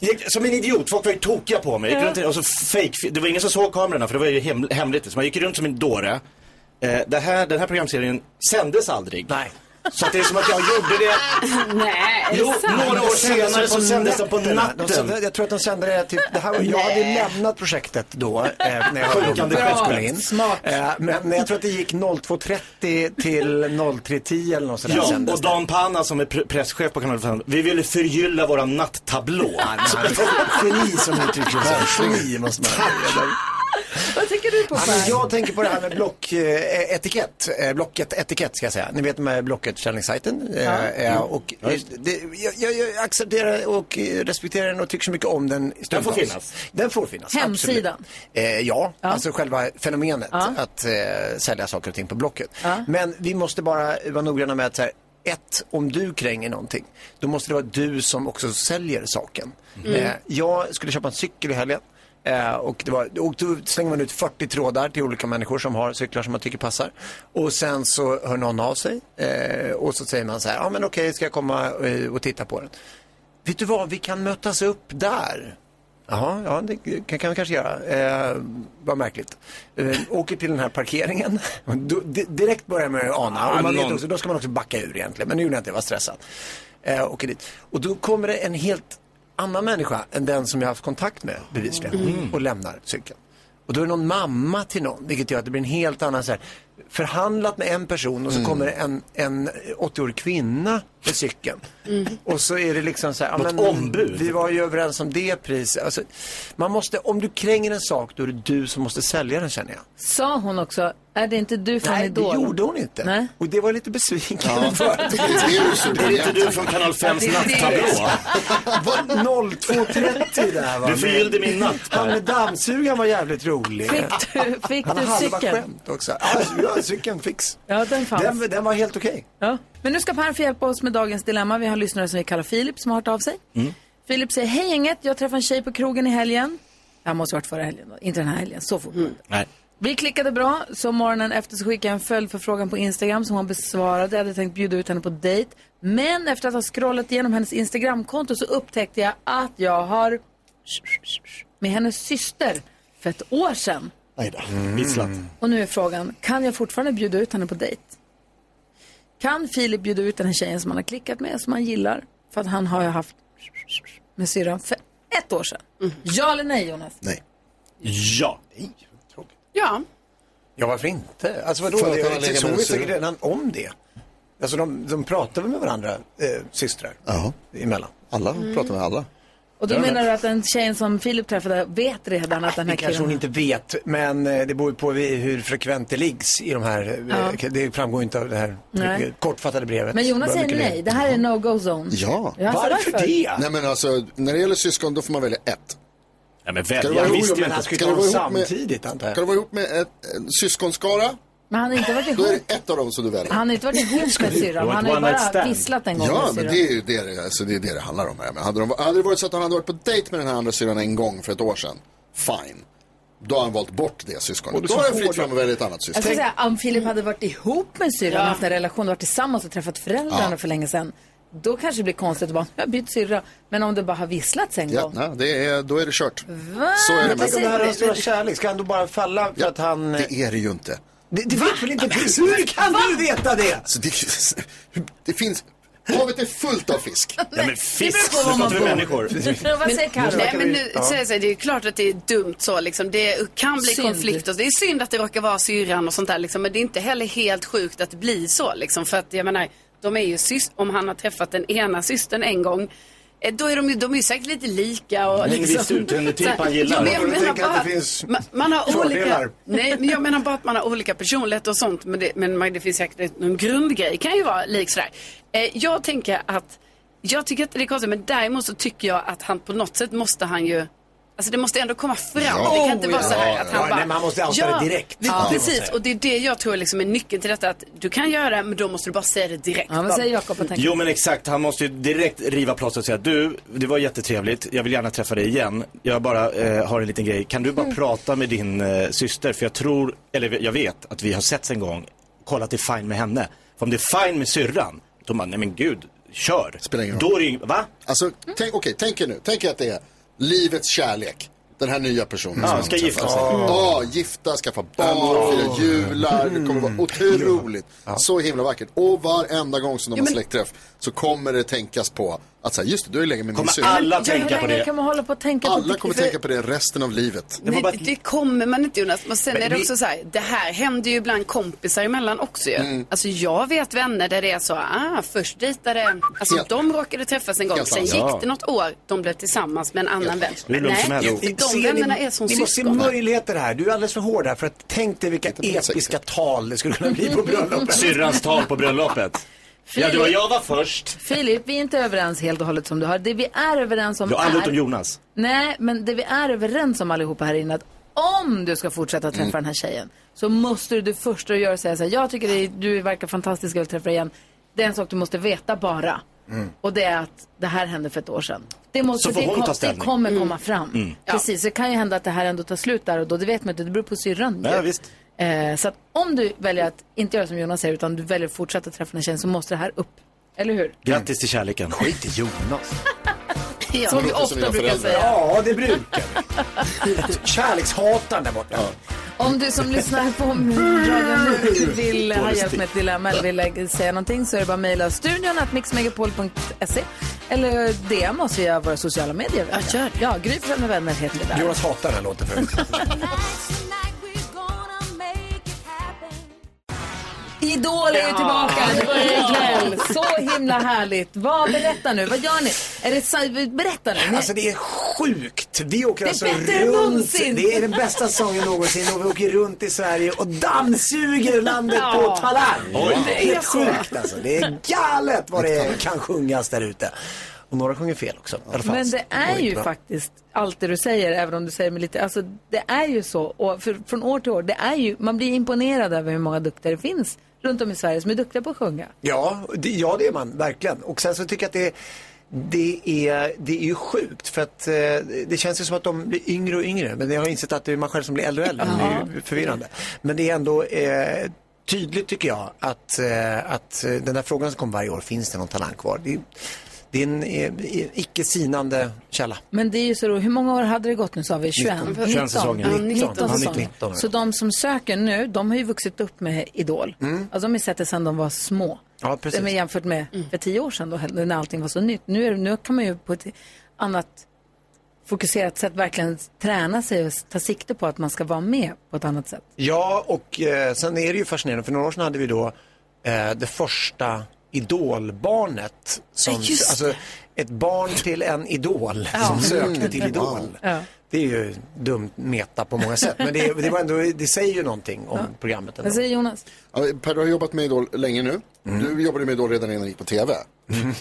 Gick, som en idiot, folk var ju tokiga på mig. Jag gick runt, och så fake, det var ingen som såg kamerorna för det var ju hem, hemligt. Så man gick runt som en dåre. Eh, det här, den här programserien sändes aldrig. Nej. Så att det är som att jag gjorde det Nej, är det Jo, sant? några år senare så sändes den på nätterna. De natten. sände- jag tror att de sände det typ, det här, var- jag hade lämnat projektet då. Eh, när jag var Sjunkande när jag skepp. skulle in. Smart. Eh, men, men jag tror att det gick 02.30 till 03.10 eller något sådär Ja, sändes och det. Dan Panna som är pre- presschef på Kanal 5, vi ville förgylla våra nattablå. Geni som uttrycker sig. Geni måste man Vad tänker du på, Ja, men Per? Alltså, jag tänker på det här med blocketikett. eh, Blocket etikett ska jag säga. Ni vet den här Blocket-försäljningssajten. Eh, Ja. eh, Och Ja, eh, just det, jag, jag, jag accepterar och eh, respekterar den och tycker så mycket om den. Den får stundtals. finnas. Den får finnas. Hemsidan. absolut. Eh, ja, alltså själva fenomenet att eh, sälja saker och ting på Blocket. Men vi måste bara vara noggranna med att så här, ett, om du kränger någonting, då måste det vara du som också säljer saken. Mm. Eh, jag skulle köpa en cykel i helgen. Eh, och, det var, och då slänger man ut 40 trådar till olika människor som har cyklar som man tycker passar. Och sen så hör någon av sig eh, och så säger man så här, ja ah, men okej, ska jag komma eh, och titta på den? Vet du vad, vi kan mötas upp där. Jaha, ja det kan, kan vi kanske göra. Eh, vad märkligt. Eh, åker till den här parkeringen. Och Då, di- direkt börjar man ju ana. Och man vet också, då ska man också backa ur egentligen. Men nu gjorde jag inte det, jag var stressad. Eh, åker dit. Och då kommer det en helt annan människa än den som jag haft kontakt med bevisligen. Mm. Och lämnar cykeln. Och då är det någon mamma till någon, vilket gör att det blir en helt annan så här, förhandlat med en person och så kommer det en, en 80-årig kvinna med cykeln. Och så är det liksom så här, ja, Något ombud. vi var ju överens om det priset. Alltså, man måste, om du kränger en sak, då är det du som måste sälja den känner jag. Sa hon också, är det inte du från Nej, det Idol? gjorde hon inte. Nej. Och det var jag lite besviken Ja. för. Det är ju så Det är inte du från Kanal 5s nattablå. Var 02.30 där va? Du förgyllde min natt. Han med dammsugaren var jävligt rolig. Fick du, fick Han du har halva cykeln? skämt också. Alltså, ja, cykeln fix. Ja, den fanns. Den, den var helt okej. Ja. Men nu ska Per få hjälpa oss med dagens dilemma. Vi har en lyssnare som vi kallar Filip som har hört av sig. Filip säger, hej gänget, jag träffade en tjej på krogen i helgen. Jag måste ha varit förra helgen då, inte den här helgen, så fort. Nej. Vi klickade bra, så morgonen efter så skickade jag en följdförfrågan på Instagram som hon besvarade. Jag hade tänkt bjuda ut henne på dejt. Men efter att ha scrollat igenom hennes Instagramkonto så upptäckte jag att jag har med hennes syster för ett år sedan. Nej då, visslat. Och nu är frågan, kan jag fortfarande bjuda ut henne på dejt? Kan Filip bjuda ut den här tjejen som han har klickat med, som han gillar? För att han har ju haft med syrran för ett år sedan. Ja eller nej Jonas? Ja. Ja. Ja, varför inte? Alltså vadå? För att Det- han har legat Så hon med en vet säkert syra. redan om det. Alltså de, de pratar väl med varandra, eh, systrar? Ja. Emellan. Alla Mm. pratar med alla. Och då Ja, menar du att den tjejen som Filip träffade vet redan att den här Det kanske hon killen... inte vet, men eh, det beror ju på vi- hur frekvent det liggs i de här. eh, Det framgår ju inte av det här Nej. eh, kortfattade brevet. Men Jonas Vad säger mycket det är. nej, det här är no-go zone. Ja. Ja, alltså, Varför varför? det? Nej men alltså, när det gäller syskon då får man välja ett. Nej, men Ska du vara ihop med- ska du vara ihop med- Ska du vara ihop med ett, en syskonskara, Men han har inte varit då är ihop, det ett av dem som du väljer. han har inte varit ihop med syrran, han har ju bara visslat en gång Ja, med men syrran. det är ju det det, alltså det, är det, det handlar om. Här. Men hade, de, hade det varit så att han hade varit på dejt med den här andra syrran en gång för ett år sedan, fine. Då har han valt bort det syskonet. Och Då så har han fritt hård- fram att välja ett annat Jag skulle syskon. säga, om Filip hade varit ihop med syrran, Ja. haft en relation, varit tillsammans och träffat föräldrarna Ja. för länge sedan. Då kanske det blir konstigt att bara, jag har bytt syrra. Men om det bara har visslats en Ja, gång. nej, det är, då är det kört. Va? Så är det Men med tänk om det här är hans stora kärlek, ska han då bara falla för att han... eh, Det är det ju inte. Det, det vet väl inte... Hur kan du veta det? Så det, det finns... Havet är fullt av fisk. Nej, men fisk, det beror på var nu man pratar vi bor. människor. Vad säger Carro? Nej, men nu, så jag säger, det är ju klart att det är dumt så liksom. Det kan bli Synd. konflikter. Det är synd att det råkar vara syrran och sånt där liksom. Men det är inte heller helt sjukt att det blir så liksom. För att jag menar, de är ju syst- om han har träffat den ena systern en gång. eh, Då är de ju, de är ju säkert lite lika och Men liksom. visst uthyrningstyp typ Så här, han gillar. ja, men jag Då får du menar tänka att det bara- finns man, man har fördelar. olika, nej men jag menar bara att man har olika personlighet och sånt. Men det, men man- det finns säkert någon grundgrej, kan ju vara lik sådär. Eh, jag tänker att, jag tycker inte det är konstigt men däremot så tycker jag att han på något sätt måste han ju Alltså det måste ändå komma fram. Ja. Det kan inte Oh, vara ja. så här att Ja, han bara... nej, man måste outa det direkt. vi- Ja. Precis, och det är det jag tror liksom är nyckeln till detta. Att du kan göra det, men då måste du bara säga det direkt. Ja, vad säger Jakob? Jo men exakt, han måste ju direkt riva plåstret och säga du, det var jättetrevligt, jag vill gärna träffa dig igen. Jag bara eh, har en liten grej, kan du bara Mm. prata med din eh, syster? För jag tror, eller jag vet att vi har setts en gång, kolla att det är fine med henne. För om det är fine med syrran, då man, nej men gud, kör. Spelar ingen Då är det ju- va? Alltså, tänk, okej, tänk er nu. Tänk er att det är livets kärlek. Den här nya personen Ja, som man ska träffar. Alltså, gifta sig. Mm. Ja, gifta, skaffa barn, fira jular. Det kommer Mm. vara otroligt. Så himla vackert. Och varenda gång som de Ja, har men- släktträff så kommer det tänkas på att så här, just det, du är länge med min Kommer syrra. alla Ja, Hur länge kan man hålla på att tänka på Alla kommer tänka på det resten av livet. Nej, det kommer man inte Jonas. Men sen Men är det vi- också så här, det här händer ju bland kompisar emellan också ju. Mm. Alltså jag vet vänner där det är så, ah, först dejtade, alltså Helt- de råkade träffas en gång, Helt sen sant. gick Ja. det något år, de blev tillsammans med en annan vän. Det är lugnt som Nej, helst. de vännerna är som Ni måste se syskon. möjligheter här. Du är alldeles för hård här för att tänk dig vilka episka tal det skulle kunna bli på bröllopet. Syrrans tal på bröllopet. Ja, det var jag var först. Filip, vi är inte överens helt och hållet som du har. Det vi är överens om Jag alla är... utom Jonas. Nej, men det vi är överens om allihopa här inne att om du ska fortsätta träffa Mm. den här tjejen så måste du det första du gör säga så här, jag tycker det, du verkar fantastisk, jag vill träffa dig igen. Det är en sak du måste veta bara. Och det är att det här hände för ett år sedan. Det, måste, Mm. Så får det, hon kom, ta det ställning. kommer komma fram. Mm. Ja. Precis, så det kan ju hända att det här ändå tar slut där och då. Det vet man inte, det beror på syrran. ju. Ja, visst. Eh, så att om du väljer att inte göra som Jonas säger utan du väljer att fortsätta träffa den här tjejen så måste det här upp. Eller hur? Grattis till kärleken. Skit i Jonas. Ja. Som vi ofta brukar säga. Ja, det brukar vi. Kärlekshataren där borta. Om du som lyssnar på radion nu vill ha hjälp med ett dilemma eller vill lägga- säga någonting så är det bara att mejla studion att mixmegapol.se eller DM oss via våra sociala medier. Ja, gör Ja, Gry Forssell med vänner heter vi där. Jonas hatar den här låten förut. Idol är ju Ja. tillbaka, det börjar ikväll. Ja. Så himla härligt. Vad, berätta nu, vad gör ni? Är det, sa- berätta nu. Ni- Alltså det är sjukt. Vi åker Det är alltså bättre än runt. någonsin. Det är den bästa säsongen någonsin och vi åker runt i Sverige och dammsuger landet Ja. på talang. Oj. Det är helt sjukt alltså. Det är galet vad det kan sjungas där ute. Och några sjunger fel också. I alla fall. Men det är ju Oj, faktiskt allt det du säger, även om du säger det med lite, alltså det är ju så, och för, från år till år, det är ju, man blir imponerad över hur många duktiga det finns runt om i Sverige som är duktiga på att sjunga. Ja, det, ja det är man verkligen. Och sen så tycker jag att det, det, är, det är ju sjukt för att eh, det känns ju som att de blir yngre och yngre. Men jag har insett att det är man själv som blir äldre och äldre. Det är ju förvirrande. Men det är ändå eh, tydligt tycker jag att, eh, att eh, den där frågan som kommer varje år, finns det någon talang kvar? Det, är- det är en eh, icke sinande källa. Men det är ju så då, hur många år hade det gått nu sa vi? 21? 19. 19, 21 säsonger. Ja, 19 Ja, 19. säsonger. Så de som söker nu, de har ju vuxit upp med Idol. Alltså de har ju sett det sedan de var små. Mm. Ja, precis. Men jämfört med för tio år sedan då, när allting var så nytt. Nu, är, nu kan man ju på ett annat fokuserat sätt verkligen träna sig och ta sikte på att man ska vara med på ett annat sätt. Ja, och eh, sen är det ju fascinerande. För några år sedan hade vi då eh, det första idolbarnet. Som, Ja, just alltså, ett barn till en idol Ja. som sökte Mm. till idol. Ja. Det är ju dumt meta på många sätt. Men det, det, var ändå, det säger ju någonting om programmet. Ändå. Vad säger Jonas? Ja, Per, du har jobbat med Idol länge nu. Mm. Du jobbade med Idol redan innan du gick på TV.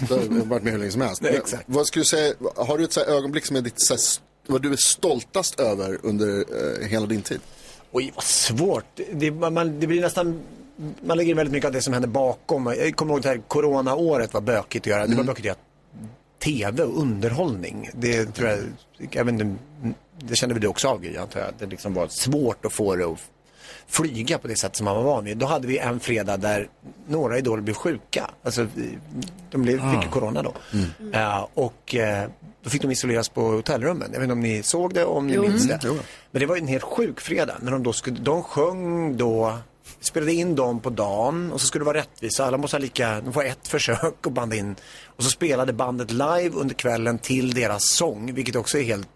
Du har varit med hur länge som helst. Nej, Men exakt. Vad skulle du säga, har du ett så här ögonblick som är ditt, så här, st- vad du är stoltast över under eh, hela din tid? Oj, vad svårt. Det, man- man, det blir nästan... Man lägger in väldigt mycket av det som händer bakom. Jag kommer ihåg det här coronaåret var bökigt att göra. Det var bökigt att göra tv och underhållning. Det tror jag, jag vet inte, det kände väl du också av Gry, antar jag. att Det liksom var svårt att få det att flyga på det sätt som man var van vid. Då hade vi en fredag där några idoler blev sjuka. Alltså, vi- de blev, fick ju corona då. Eh, och eh, då fick de isoleras på hotellrummen. Jag vet inte om ni såg det, om ni Jo. minns det. Mm, jo. Men det var ju en helt sjuk fredag när de då skulle, de sjöng då spelade in dem på dagen och så skulle det vara rättvisa. Alla måste ha lika, de får ett försök och banda in. Och så spelade bandet live under kvällen till deras sång, vilket också är helt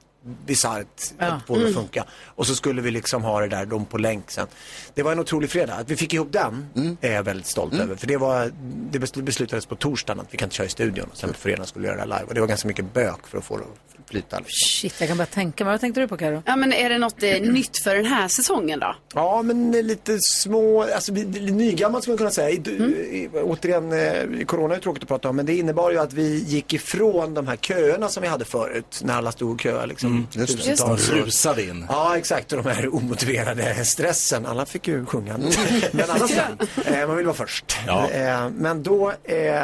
bisarrt Ja. att få det att Mm. funka. Och så skulle vi liksom ha det där, de på länk sen. Det var en otrolig fredag. Att vi fick ihop den är jag väldigt stolt över. För det, var, det besl- beslutades på torsdagen att vi kan inte köra i studion. Och sen på fredagen skulle vi göra det live. Och det var ganska mycket bök för att få det att flyta. Shit, jag kan bara tänka mig. Vad tänkte du på Karo? Ja, men är det något eh, nytt för den här säsongen då? Ja, men lite små, alltså vi- lite nygammalt skulle man kunna säga. I, Mm. i, återigen, eh, corona är tråkigt att prata om, men det innebar ju att vi gick ifrån de här köerna som vi hade förut, när alla stod och köade liksom. tusentals. Rusade in. Ja, exakt. Och de här omotiverade stressen. Alla fick ju sjunga. Men alla sen. Eh, man vill vara först. Ja. Eh, men då eh,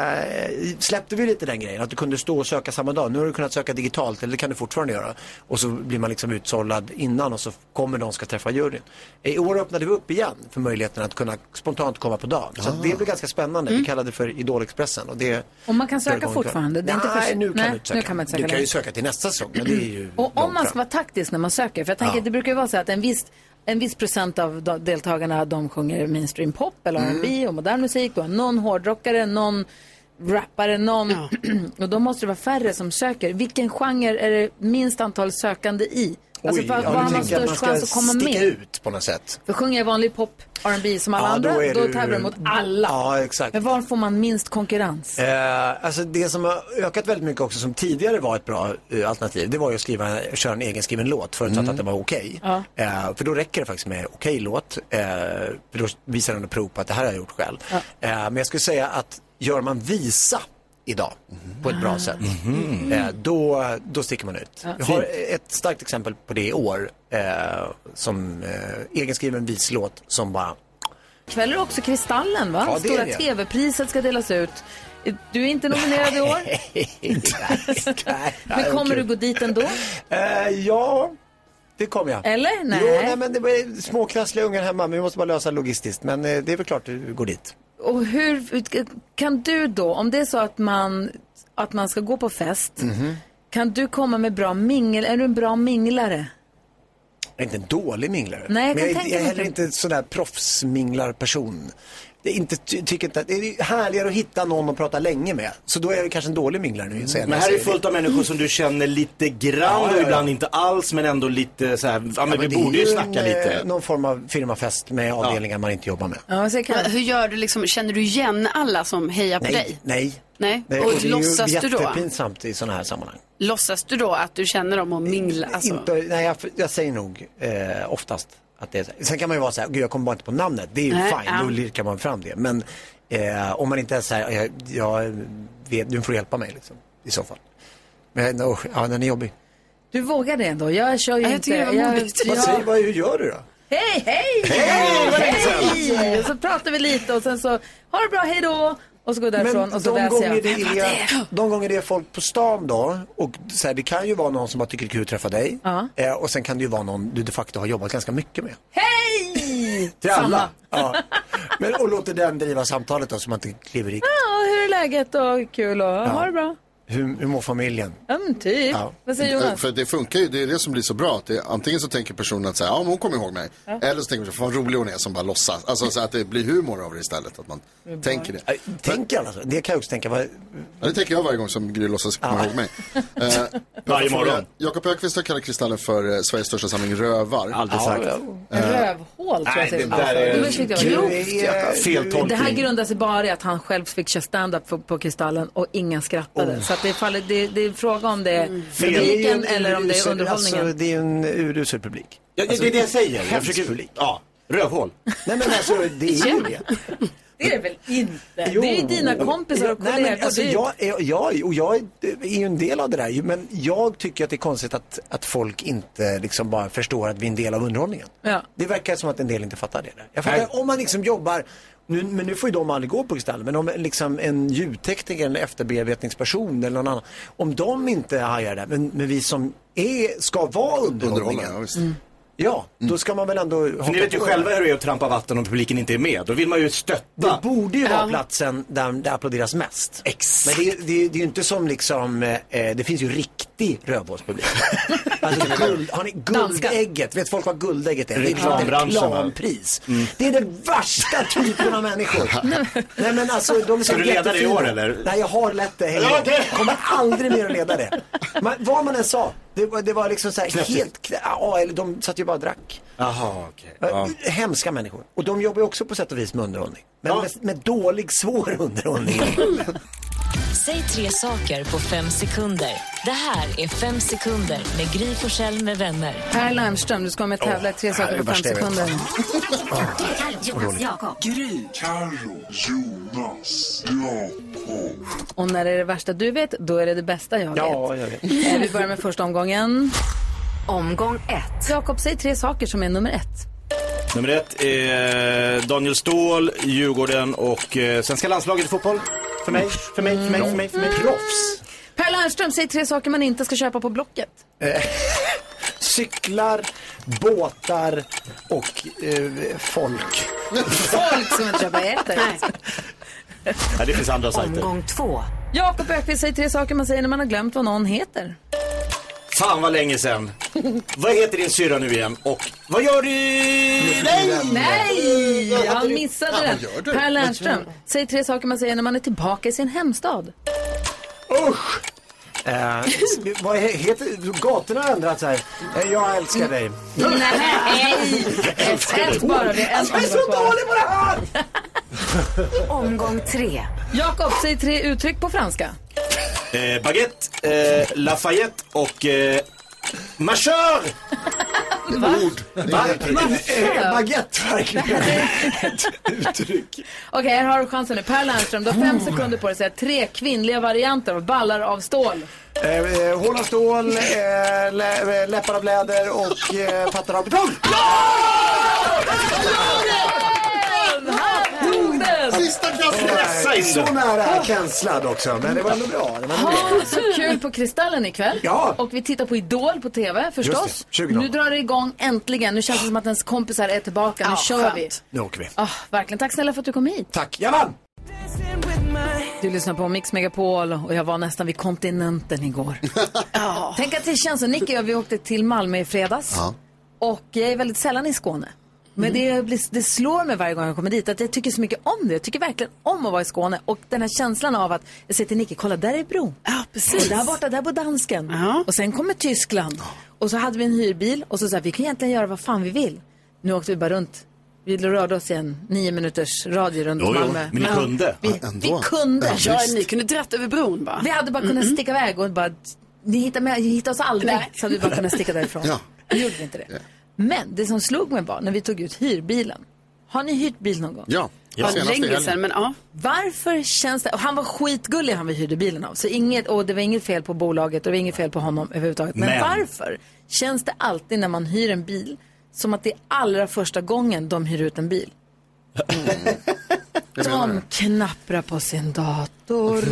släppte vi lite den grejen. Att du kunde stå och söka samma dag. Nu har du kunnat söka digitalt, eller det kan du fortfarande göra. Och så blir man liksom utsållad innan och så kommer de som ska träffa juryn. I år öppnade vi upp igen för möjligheten att kunna spontant komma på dag. Så att det blev ganska spännande. Vi kallade det för Idolexpressen. Och det Ah. Mm. Och man kan drar söka igång- fortfarande? Det är inte Nej, för- nu kan Nej, du inte söka. nu kan man inte du söka kan ju längre. Mm. söka till nästa säsong, men det är ju Och om långt man fram. ska vara taktisk när man söker, för jag tänker Ja. att det brukar ju vara så att en viss, en viss procent av de- deltagarna de sjunger mainstream pop eller Mm. R&B och modern musik, då. någon hårdrockare, någon rappare, någon... och då måste det vara färre som söker. Vilken genre är det minst antal sökande i? alltså, vad ja, vad du har man tänker att störst ska chans att komma sticka med? ut på något sätt. För sjunger jag vanlig pop, R&B som alla Ja, andra, då, är du- tävlar jag mot alla. Ja, exakt. Men var får man minst konkurrens? Eh, alltså det som har ökat väldigt mycket också som tidigare var ett bra eh, alternativ det var ju att skriva, köra en egenskriven låt förutsatt att den var okej. Ja. Eh, för då räcker det faktiskt med okej låt. Eh, för då visar den och prov på att det här har jag gjort själv. Eh, men jag skulle säga att gör man visa idag på ett bra sätt, eh, då, då sticker man ut. Ja. Jag har ett starkt exempel på det i år, eh, som eh, egenskriven vislåt som bara Kväll är också Kristallen, va? Ja, det är Stora det. TV-priset ska delas ut. Du är inte nominerad i år, men kommer du gå dit ändå? Eh, ja, det kommer jag. Eller? Nej. Jo, nej men det var små krassliga ungar hemma, men vi måste bara lösa logistiskt. Men eh, det är väl klart du går dit. Och hur kan du då, om det är så att man, att man ska gå på fest, Mhm. kan du komma med bra mingel? Är du en bra minglare? Jag är inte en dålig minglare. Nej, jag men kan jag, är- tänka jag är mig heller det. inte en sån där proffsminglarperson. Det är, inte, ty, tycker inte, att- det är ju härligare att hitta någon att prata länge med. Så då är jag ju kanske en dålig minglare nu. säger jag när Men jag här är säger det. fullt av människor som du känner lite grann Ja, ja, och ja. ibland inte alls men ändå lite så här, ja men vi det är borde ju en, snacka lite. eh, Någon form av firmafest med avdelningar man inte jobbar med. Ja, så Men Hur gör du liksom, känner du igen alla som hejar på Nej, dig? nej. Nej. Det, och och det är låtsas ju du då? jättepinsamt i sådana här sammanhang. Låtsas du då att du känner dem och minglar? Alltså. Inte, nej, jag, jag säger nog eh, oftast att det är så. Sen kan man ju vara så här, gud jag kommer bara inte på namnet. Det är ju Nej, fine, ja. då lirkar man fram det. Men eh, om man inte är så här, jag, jag vet, du får hjälpa mig liksom, i så fall. Men oh, ja, den är jobbig. Du vågar det ändå? Jag kör ju Ja, jag inte. tycker det var modigt. jag, Vad säger, jag, vad, hur gör du då? hej, hej! Hej, vad länge sedan. Hej! Och så pratar vi lite och sen så, ha det bra, hej då! Och så går jag därifrån Men och så de väser gånger, jag. det Vem var det? är, de gånger det är folk på stan då, och så här, det kan ju vara någon som bara tycker det är kul att träffa dig. Ja. Eh, och sen kan det ju vara någon du de facto har jobbat ganska mycket med. Hej! Till alla. Ja. Men, och låter den driva samtalet då så man inte kliver i. Ja, hur är läget och kul och ha det bra. Hur, hur mår familjen? Ja, men typ. Ja. Vad säger Jonas? För det funkar ju, det är det som blir så bra. Att det, antingen så tänker personen att så här, ja, men hon kommer ihåg mig. Eller så tänker man, fan vad rolig hon är som bara låtsas. Alltså så att det blir humor av det istället. Att man tänker det. Tänker Äh, alla så? Det kan jag också tänka. Vad, Ja, det tänker jag varje gång som Gry låtsas komma ihåg mig. Eh, Varje jag får morgon. fråga, Jakob Ökvist har kallat Kristallen för eh, Sveriges största samling rövar. Aldrig sagt. Rövhål tror jag Nej, säger det man. där är- Det var riktigt- Grovt. Feltolkning. Det här grundar sig bara i att han själv fick köra stand-up på, på Kristallen och ingen Oh. skrattade. Så att det, är fallet, det, det är en fråga om det är Mm. publiken eller om det är underhållningen. Alltså, det är en Alltså, urusel publik. Ja, det, det är det jag säger. Jag Hemsk försöker, publik. ja, rövhål. Nej men alltså det är ju det. det är det väl inte? Det är ju dina kompisar och Nej, kollegor. typ. men, alltså, Det är- jag, är- jag, och jag är ju en del av det där ju, men jag tycker att det är konstigt att, att folk inte liksom bara förstår att vi är en del av underhållningen. Ja. Det verkar som att en del inte fattar det. Där. Jag fattar, om man liksom jobbar, nu, men nu får ju de aldrig gå på Kristallen, men om liksom en ljudtekniker, en efterbearbetningsperson eller någon annan, om de inte hajar det, men, men vi som är, ska vara Underhållning, underhållningen, ja, visst. ja, då ska man väl ändå För ni vet ju själva hur det är att trampa vatten om publiken inte är med. Då vill man ju Det stötta. borde ju vara platsen där det applåderas mest. Exakt. Men det, är- det, är- det är ju inte som liksom, eh, det finns ju riktigt riktig rövhålspublik. Alltså guld, har ni guldägget? Vet folk vad guldägget är? Det är ett Reklambranschen, va? reklampris. Mm. Det är den värsta typen av människor. Nej men alltså de är Ska så du leda det i jättefina. år, eller? Nej jag har lett det. Ja, Ja, det- Kommer aldrig mer att leda det. Man, vad man än sa. Det, var- det var liksom så här Knäppigt. helt knä, ja, eller de satt ju bara och drack. Jaha, okej. Hemska människor. Och de jobbar ju också på sätt och vis med underhållning. Men med, med dålig, svår underhållning. Säg tre saker på fem sekunder. Det här är Fem sekunder med Gry Forssell med vänner. Per Lernström, du ska med och tävla i tre Åh, det här saker är på det fem värsta jag vet. sekunder. Jonas, Jakob. Gry, Carro, Jonas, Jakob. Och när det är det värsta du vet, då är det det bästa jag vet. jag vet. Eh, Vi börjar med första omgången. Omgång ett. Jakob, säg tre saker som är nummer ett. Nummer ett är Daniel Ståhl, Djurgården och eh, svenska landslaget i fotboll. För mig, för mig, för mig, för mig, för mig. Proffs. Per Lernström, säg tre saker man inte ska köpa på Blocket. Cyklar, båtar och eh, folk. Folk som inte köper och äter. Ja, det finns andra sajter. två. Jakob Öqvist, säg tre saker man säger när man har glömt vad någon heter. Fan vad länge sen. vad heter din syrra nu igen? Och vad gör du? Nej! Nej, Ja, han du- missade Ja, vad gör den. du? Per Lernström, säg tre saker man säger när man är tillbaka i sin hemstad. Usch! Eh, s- vad he- heter, gatorna har ändrats här. Eh, Jag älskar dig. Nej! Ett bara, det är en Alltså, jag är så dålig på det här! Omgång tre. Jakob, säg tre uttryck på franska. Eh, baguette, eh, Lafayette och eh, Marcheur! Ord. Va? Eh, Baguette verkligen. Okej, här har du chansen nu. Per Lernström, du har Oh. fem sekunder på dig att säga tre kvinnliga varianter av ballar av stål. Eh, eh, Hål av stål, eh, lä- eh, läppar av läder och eh, pattar av betong. Han tog den! Sista Eh, Så nära känslad också, men det var ändå bra. Det var ändå bra. Ha så kul på Kristallen ikväl. Ja. Och vi tittar på Idol på TV förstås. Just det, 20.00. Nu drar det igång äntligen. Nu känns det som att ens kompisar är tillbaka. Nu Ja, kör vi. skönt. Nu åker vi. Ah, verkligen. Tack snälla för att du kom hit. Tack, jag vann! Du lyssnar på Mix Megapol och jag var nästan vid kontinenten igår. Ja. Tänk att det känns så. Nicky och jag, vi åkte till Malmö i fredags. Ja. Och jag är väldigt sällan i Skåne. Men det, blir, det slår mig varje gång jag kommer dit att jag tycker så mycket om det. Jag tycker verkligen om att vara i Skåne. Och den här känslan av att jag säger till Nicky, kolla där är bron. Ja, precis. Och där borta, där bor dansken. Och sen kommer Tyskland. Och så hade vi en hyrbil och så sa vi kan egentligen göra vad fan vi vill. Nu åkte vi bara runt. Vi rörde oss i en nio minuters radie runt Jo, jo, Malmö. men ni kunde. Vi, Ja, ändå. vi kunde. Ja, ni kunde dratt över bron bara. Vi hade bara kunnat sticka iväg och bara, ni hittar, med, ni hittar oss aldrig. Så hade vi bara kunnat sticka därifrån. Ja. Nu gjorde vi inte det. Men det som slog mig var när vi tog ut hyrbilen. Har ni hyrt bil någon gång? Ja, Ja, senast i länge helgen. sedan, men ja. Varför känns det... Och han var skitgullig han vi hyrde bilen av. Så inget, och det var inget fel på bolaget och det var inget fel på honom överhuvudtaget. Men, Men. varför känns det alltid när man hyr en bil som att det är allra första gången de hyr ut en bil? Jag menar De det. knapprar på sin dator,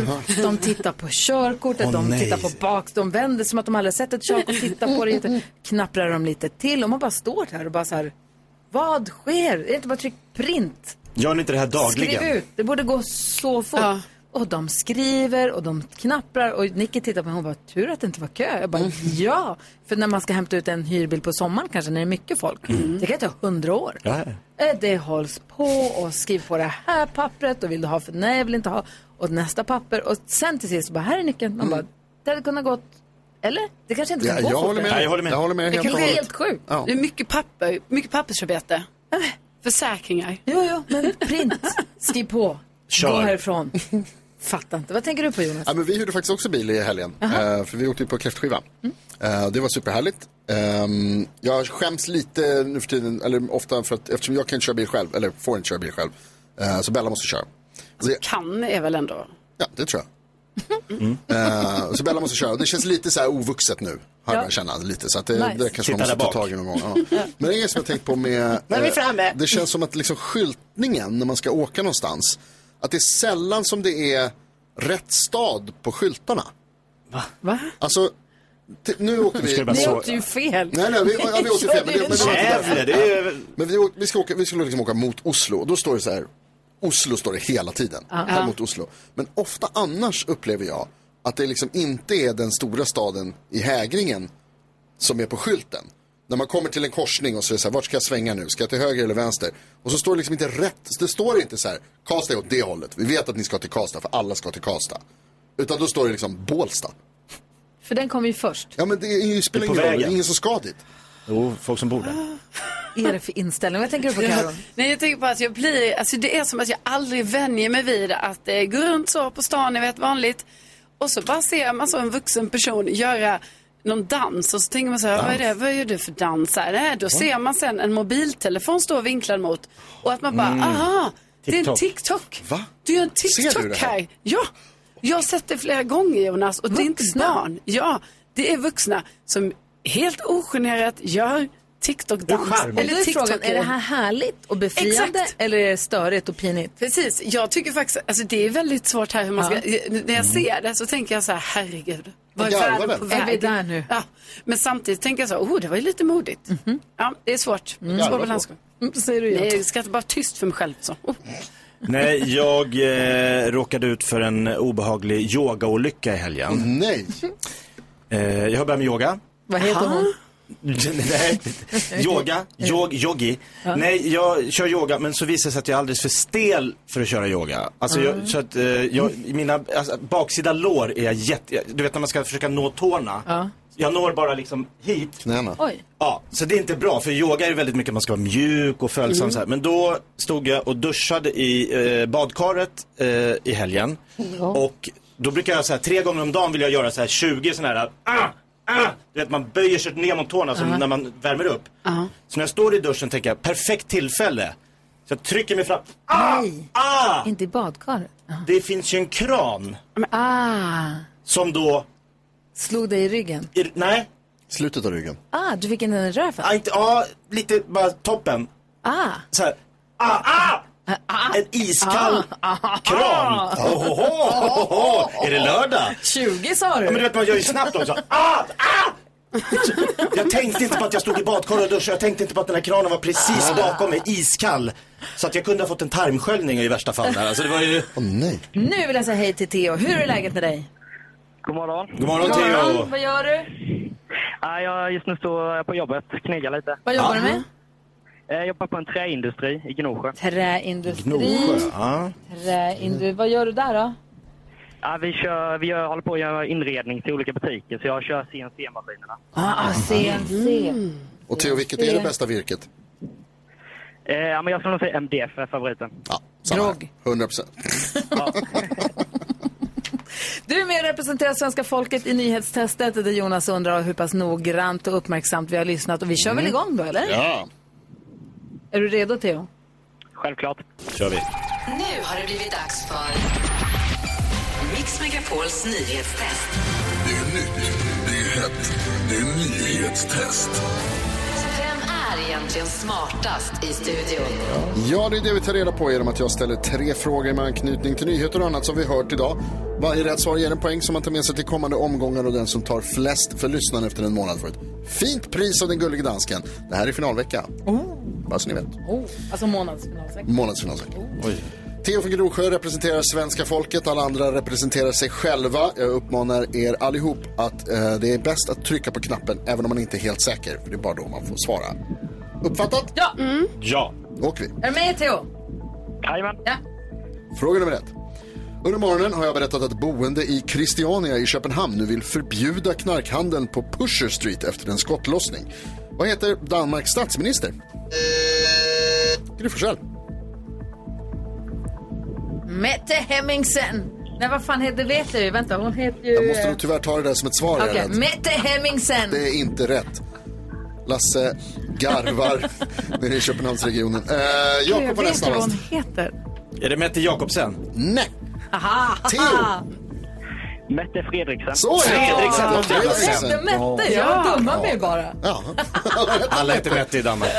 de tittar på körkortet, Åh, de nej. tittar på bak, de vänder som att de aldrig sett ett körkort, tittar på det, knapprar de lite till och man bara står där och bara så här, vad sker? Är det inte bara tryck print? Gör ni inte det här Skriv dagligen? ut, det borde gå så fort. Ja. Och de skriver och de knapprar och Nicky tittar på mig och bara, tur att det inte var kö. Jag bara, Mm. ja. För när man ska hämta ut en hyrbil på sommaren kanske när det är mycket folk, Mm. det kan ta hundra år. Ja. Eh, Det hålls på och skriv på det här pappret och vill du ha för nej, jag vill inte ha. Och nästa papper och sen till sist så bara här är nyckeln. Man bara, det hade kunnat gått, eller? Det kanske inte Mm. Ja, kan gå jag fortare. håller med. Nej, jag håller med. Jag håller med Det helt och kanske Det är hållet. helt sjukt. Ja. Det är mycket papper, mycket pappersarbete. Försäkringar. Jo, jo, men print, skriv på, gå Kör. härifrån. Fattar inte. Vad tänker du på Jonas? Ja, men vi hyrde faktiskt också bil i helgen, eh, för vi åkte ju på kräftskiva. Eh, det var superhärligt. Ehm, jag skäms lite nu för tiden, eller ofta för att eftersom jag kan inte köra bil själv, eller får inte köra bil själv, eh, så Bella måste köra. Det, Kan är väl ändå... ja, det tror jag. Eh, så Bella måste köra. Det känns lite så här ovuxet nu, har jag börjat känna. Lite, så att det, Nice. det kanske man Titta måste där ta bak. tag i någon gång. Ja. Men det är en grej som jag tänkt på med... Nu är vi eh, framme. Det känns som att liksom skyltningen när man ska åka någonstans, att det är sällan som det är rätt stad på skyltarna. Va? Alltså, t- nu åkte vi... Ska det bara Ni så- åkte ju fel. Nej, nej, vi, ja, vi åkte fel. Men, det, men, det var inte Gävle, det är ju... men vi, åkte, vi, ska åka, vi skulle liksom åka mot Oslo och då står det så här, Oslo står det hela tiden, här mot Oslo. Men ofta annars upplever jag Att det liksom inte är den stora staden i hägringen som är på skylten. När man kommer till en korsning och så är det så här, vart ska jag svänga nu? Ska jag till höger eller vänster? Och så står det liksom inte rätt, det står inte så här, Karlstad är åt det hållet. Vi vet att ni ska till Karlstad, för alla ska till Karlstad. Utan då står det liksom Bålsta. För den kommer ju först. Ja men det är ju, spelar Det är på ingen roll, det vägen. är ingen som ska dit. Jo, folk som bor där. Vad är det för inställning? Vad tänker du på Karo? Nej, jag tänker på att jag blir, alltså det är som att jag aldrig vänjer mig vid att eh, gå runt så på stan, ni vet vanligt. Och så bara ser man så en vuxen person göra någon dans och så tänker man så här, vad är det, vad gör du för dans här? Nej, då ser man sen en mobiltelefon stå vinklad mot och att man bara, Mm. aha, det är en TikTok. TikTok. Va? Du gör en Ser du TikTok det här? här? Ja, jag har sett det flera gånger Jonas och det är inte barn. Ja, det är vuxna som helt ogenerat gör Och TikTok-dans. då är frågan, är det här härligt och befriande eller är det störigt och pinigt? Precis, jag tycker faktiskt, alltså det är väldigt svårt här hur man ska, Ja. när jag ser det så tänker jag så här, herregud, Jag vad är garvar världen väl. på väg? Är vi där nu? Mhm. Ja. Men samtidigt tänker jag så, oh det var ju lite modigt. Ja, det är svårt, Jag svår garvar balansgång. Mm, Säger du Nej, jag skrattar bara tyst för mig själv så. Oh. Nej, jag eh, råkade ut för en obehaglig yogaolycka i helgen. Nej. Eh, jag har börjat med yoga. Vad heter hon? Nej, yoga, yog, yogi. Ja. Nej, jag kör yoga men så visar det sig att jag är alldeles för stel för att köra yoga. Alltså, jag, Mm. så att, eh, jag, i mina alltså, baksida lår är jag jätte, jag- du vet när man ska försöka nå tårna. Jag når bara liksom hit. Knäna. Oj. Ja, så det är inte bra för yoga är ju väldigt mycket man ska vara mjuk och följsam Mm. så här. Men då stod jag och duschade i eh, badkaret eh, i helgen. Och då brukar jag så här, tre gånger om dagen vill jag göra så här 20 sådana här, ah, ah, du vet man böjer sig ner mot tårna som Ja. när man värmer upp. Ja. Så när jag står i duschen tänker jag, perfekt tillfälle. Så jag trycker mig fram, Nej, ah! inte i badkaret. det finns ju en kran Ah, som då, slog dig i ryggen. i- nej, Slutet av ryggen. Ah, du fick in den i röven. Ah, inte, ja, lite bara toppen. Ah. Så här, ah, ah! En iskall kram. Ohoho, ohoho. Är det lördag? 20 sa du. Ja, men du vet, man gör ju snabbt också. Ah, ah! Jag tänkte inte på att jag stod i badkaret och duschade. Jag tänkte inte på att den här kranen var precis bakom mig, iskall. Så att jag kunde ha fått en tarmsköljning i värsta fall. Där. Alltså, det var ju... nej. Nu vill jag säga hej till Theo. Hur är läget med dig? God morgon. God morgon, Theo. Vad gör du? Nej, jag, just nu står jag på jobbet, knegar lite. Vad jobbar Ah. du med? eh, Jag jobbar på en träindustri i Gnosjö. Träindustri. ja. Träindu... Vad gör du där då? Ja, vi kör, vi gör, håller på att göra inredning till olika butiker, så jag kör CNC-maskinerna. Ah, CNC. Och Theo, vilket är det bästa virket? Eh, ja, men jag skulle nog säga MDF är favoriten. Ja, Drog. 100 procent. Du är med och representerar svenska folket i nyhetstestet där Jonas undrar hur pass noggrant och uppmärksamt vi har lyssnat. Och vi kör väl igång då, eller? Ja. Är du redo, Theo? Självklart. kör vi. Nu har det blivit dags för Mix Megapols nyhetstest. Det är nytt, det är hett, det är nyhetstest. Vem är egentligen smartast i studion? Ja, det är det vi tar reda på genom att jag ställer tre frågor med anknytning till nyheter och annat som vi hört idag. Varje rätt svar ger en poäng som man tar med sig till kommande omgångar och den som tar flest för lyssnaren efter en månad får ett fint pris av den gullige dansken. Det här är finalvecka. Bara så ni vet. Oh, alltså månadsfinalsäck. Månadsfinalsäck. Theo från Gnosjö representerar svenska folket, alla andra representerar sig själva. Jag uppmanar er allihop att eh, det är bäst att trycka på knappen även om man inte är helt säker, för det är bara då man får svara. Uppfattat? Ja. Ja. Då åker vi. Är du med, Theo? Jajamän. Ja. Fråga nummer ett. Under morgonen har jag berättat att boende i Christiania i Köpenhamn nu vill förbjuda knarkhandeln på Pusher Street efter en skottlossning. Vad heter Danmarks statsminister? Gry Forssell. Mette Hemmingsen. Nej, vad fan heter, det vet jag ju. Vänta, hon heter ju... Jag måste nog tyvärr ta det där som ett svar. är jag Okej, rädd. Mette Hemmingsen. Det är inte rätt. Lasse garvar nere i Köpenhamnsregionen. Eh, Jakob var den Jag vet ju vad snabbast. hon heter. Är det Mette Jakobsen? Nej. Aha! Theo. Mette Fredriksen. Så är det. Fredriksen. Ja, Fredriksen. Mette, Mette. Ja. Jag dummar mig bara. Alla heter Mette i Danmark.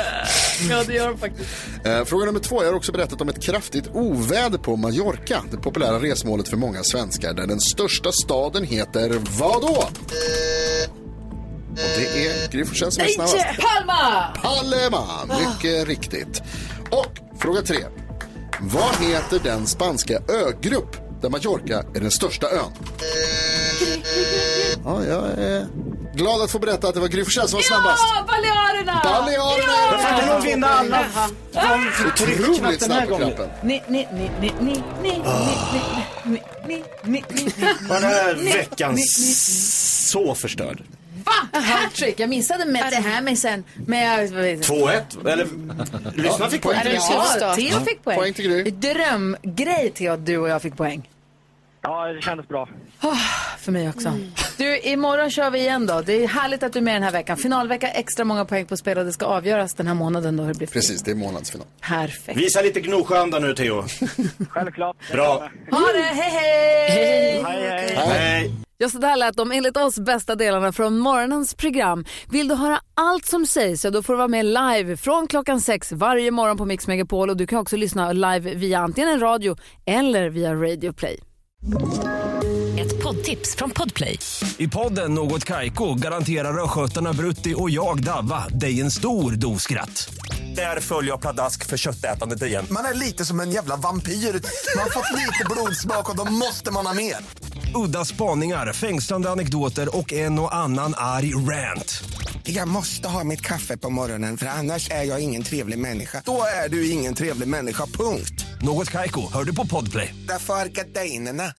Ja, det gör de faktiskt. Eh, Fråga nummer två. Jag har också berättat om ett kraftigt oväder på Mallorca. Det populära resmålet för många svenskar. Där den största staden heter vad då? Och det är Gry Forssell som är snabbast. Palma! Palma, mycket riktigt. Och fråga tre. Vad heter den spanska ögrupp där Mallorca är den största ön? Ja, jag är glad att få berätta att det var Gry Forssell som var snabbast. Balearerna! Balearerna! Där Ja! fick du nog vinna alla. Otroligt snabb på knappen. Ni, ni, ni, ni, ni, ni, ni, ni, ni, ni, ni, ni. Var den här Ni, veckan ni, ni. så förstörd? Va? Hattrick! Jag missade med det här men sen... Men jag... 2-1, eller? Lyssna fick poäng. Ja, Theo fick poäng. Poäng till Gry. Drömgrej Theo att du och jag fick poäng. Ja, det kändes bra. Ah, för mig också. Du, imorgon kör vi igen då. Det är härligt att du är med den här veckan. Finalvecka, extra många poäng på spel och det ska avgöras den här månaden då hur det blir. Precis, det är månadsfinal. Perfekt. Visa lite Gnosjöanda nu, Theo. Självklart. Bra. Ha det, hej hej! Hej. Ja, så där lät de enligt oss bästa delarna från morgonens program. Vill du höra allt som sägs så då får du vara med live från klockan sex varje morgon på Mix Megapol och du kan också lyssna live via antingen en radio eller via Radio Play. Ett poddtips från Podplay. I podden Något Kaiko garanterar östgötarna Brutti och jag, Davva, dig en stor dos skratt. Där följer jag pladask för köttätandet igen. Man är lite som en jävla vampyr. Man har fått lite blodsmak och då måste man ha mer. Udda spaningar, fängslande anekdoter och en och annan arg rant. Jag måste ha mitt kaffe på morgonen för annars är jag ingen trevlig människa. Då är du ingen trevlig människa, punkt. Något Kaiko, hör du på Podplay. Därför arkadeinerna.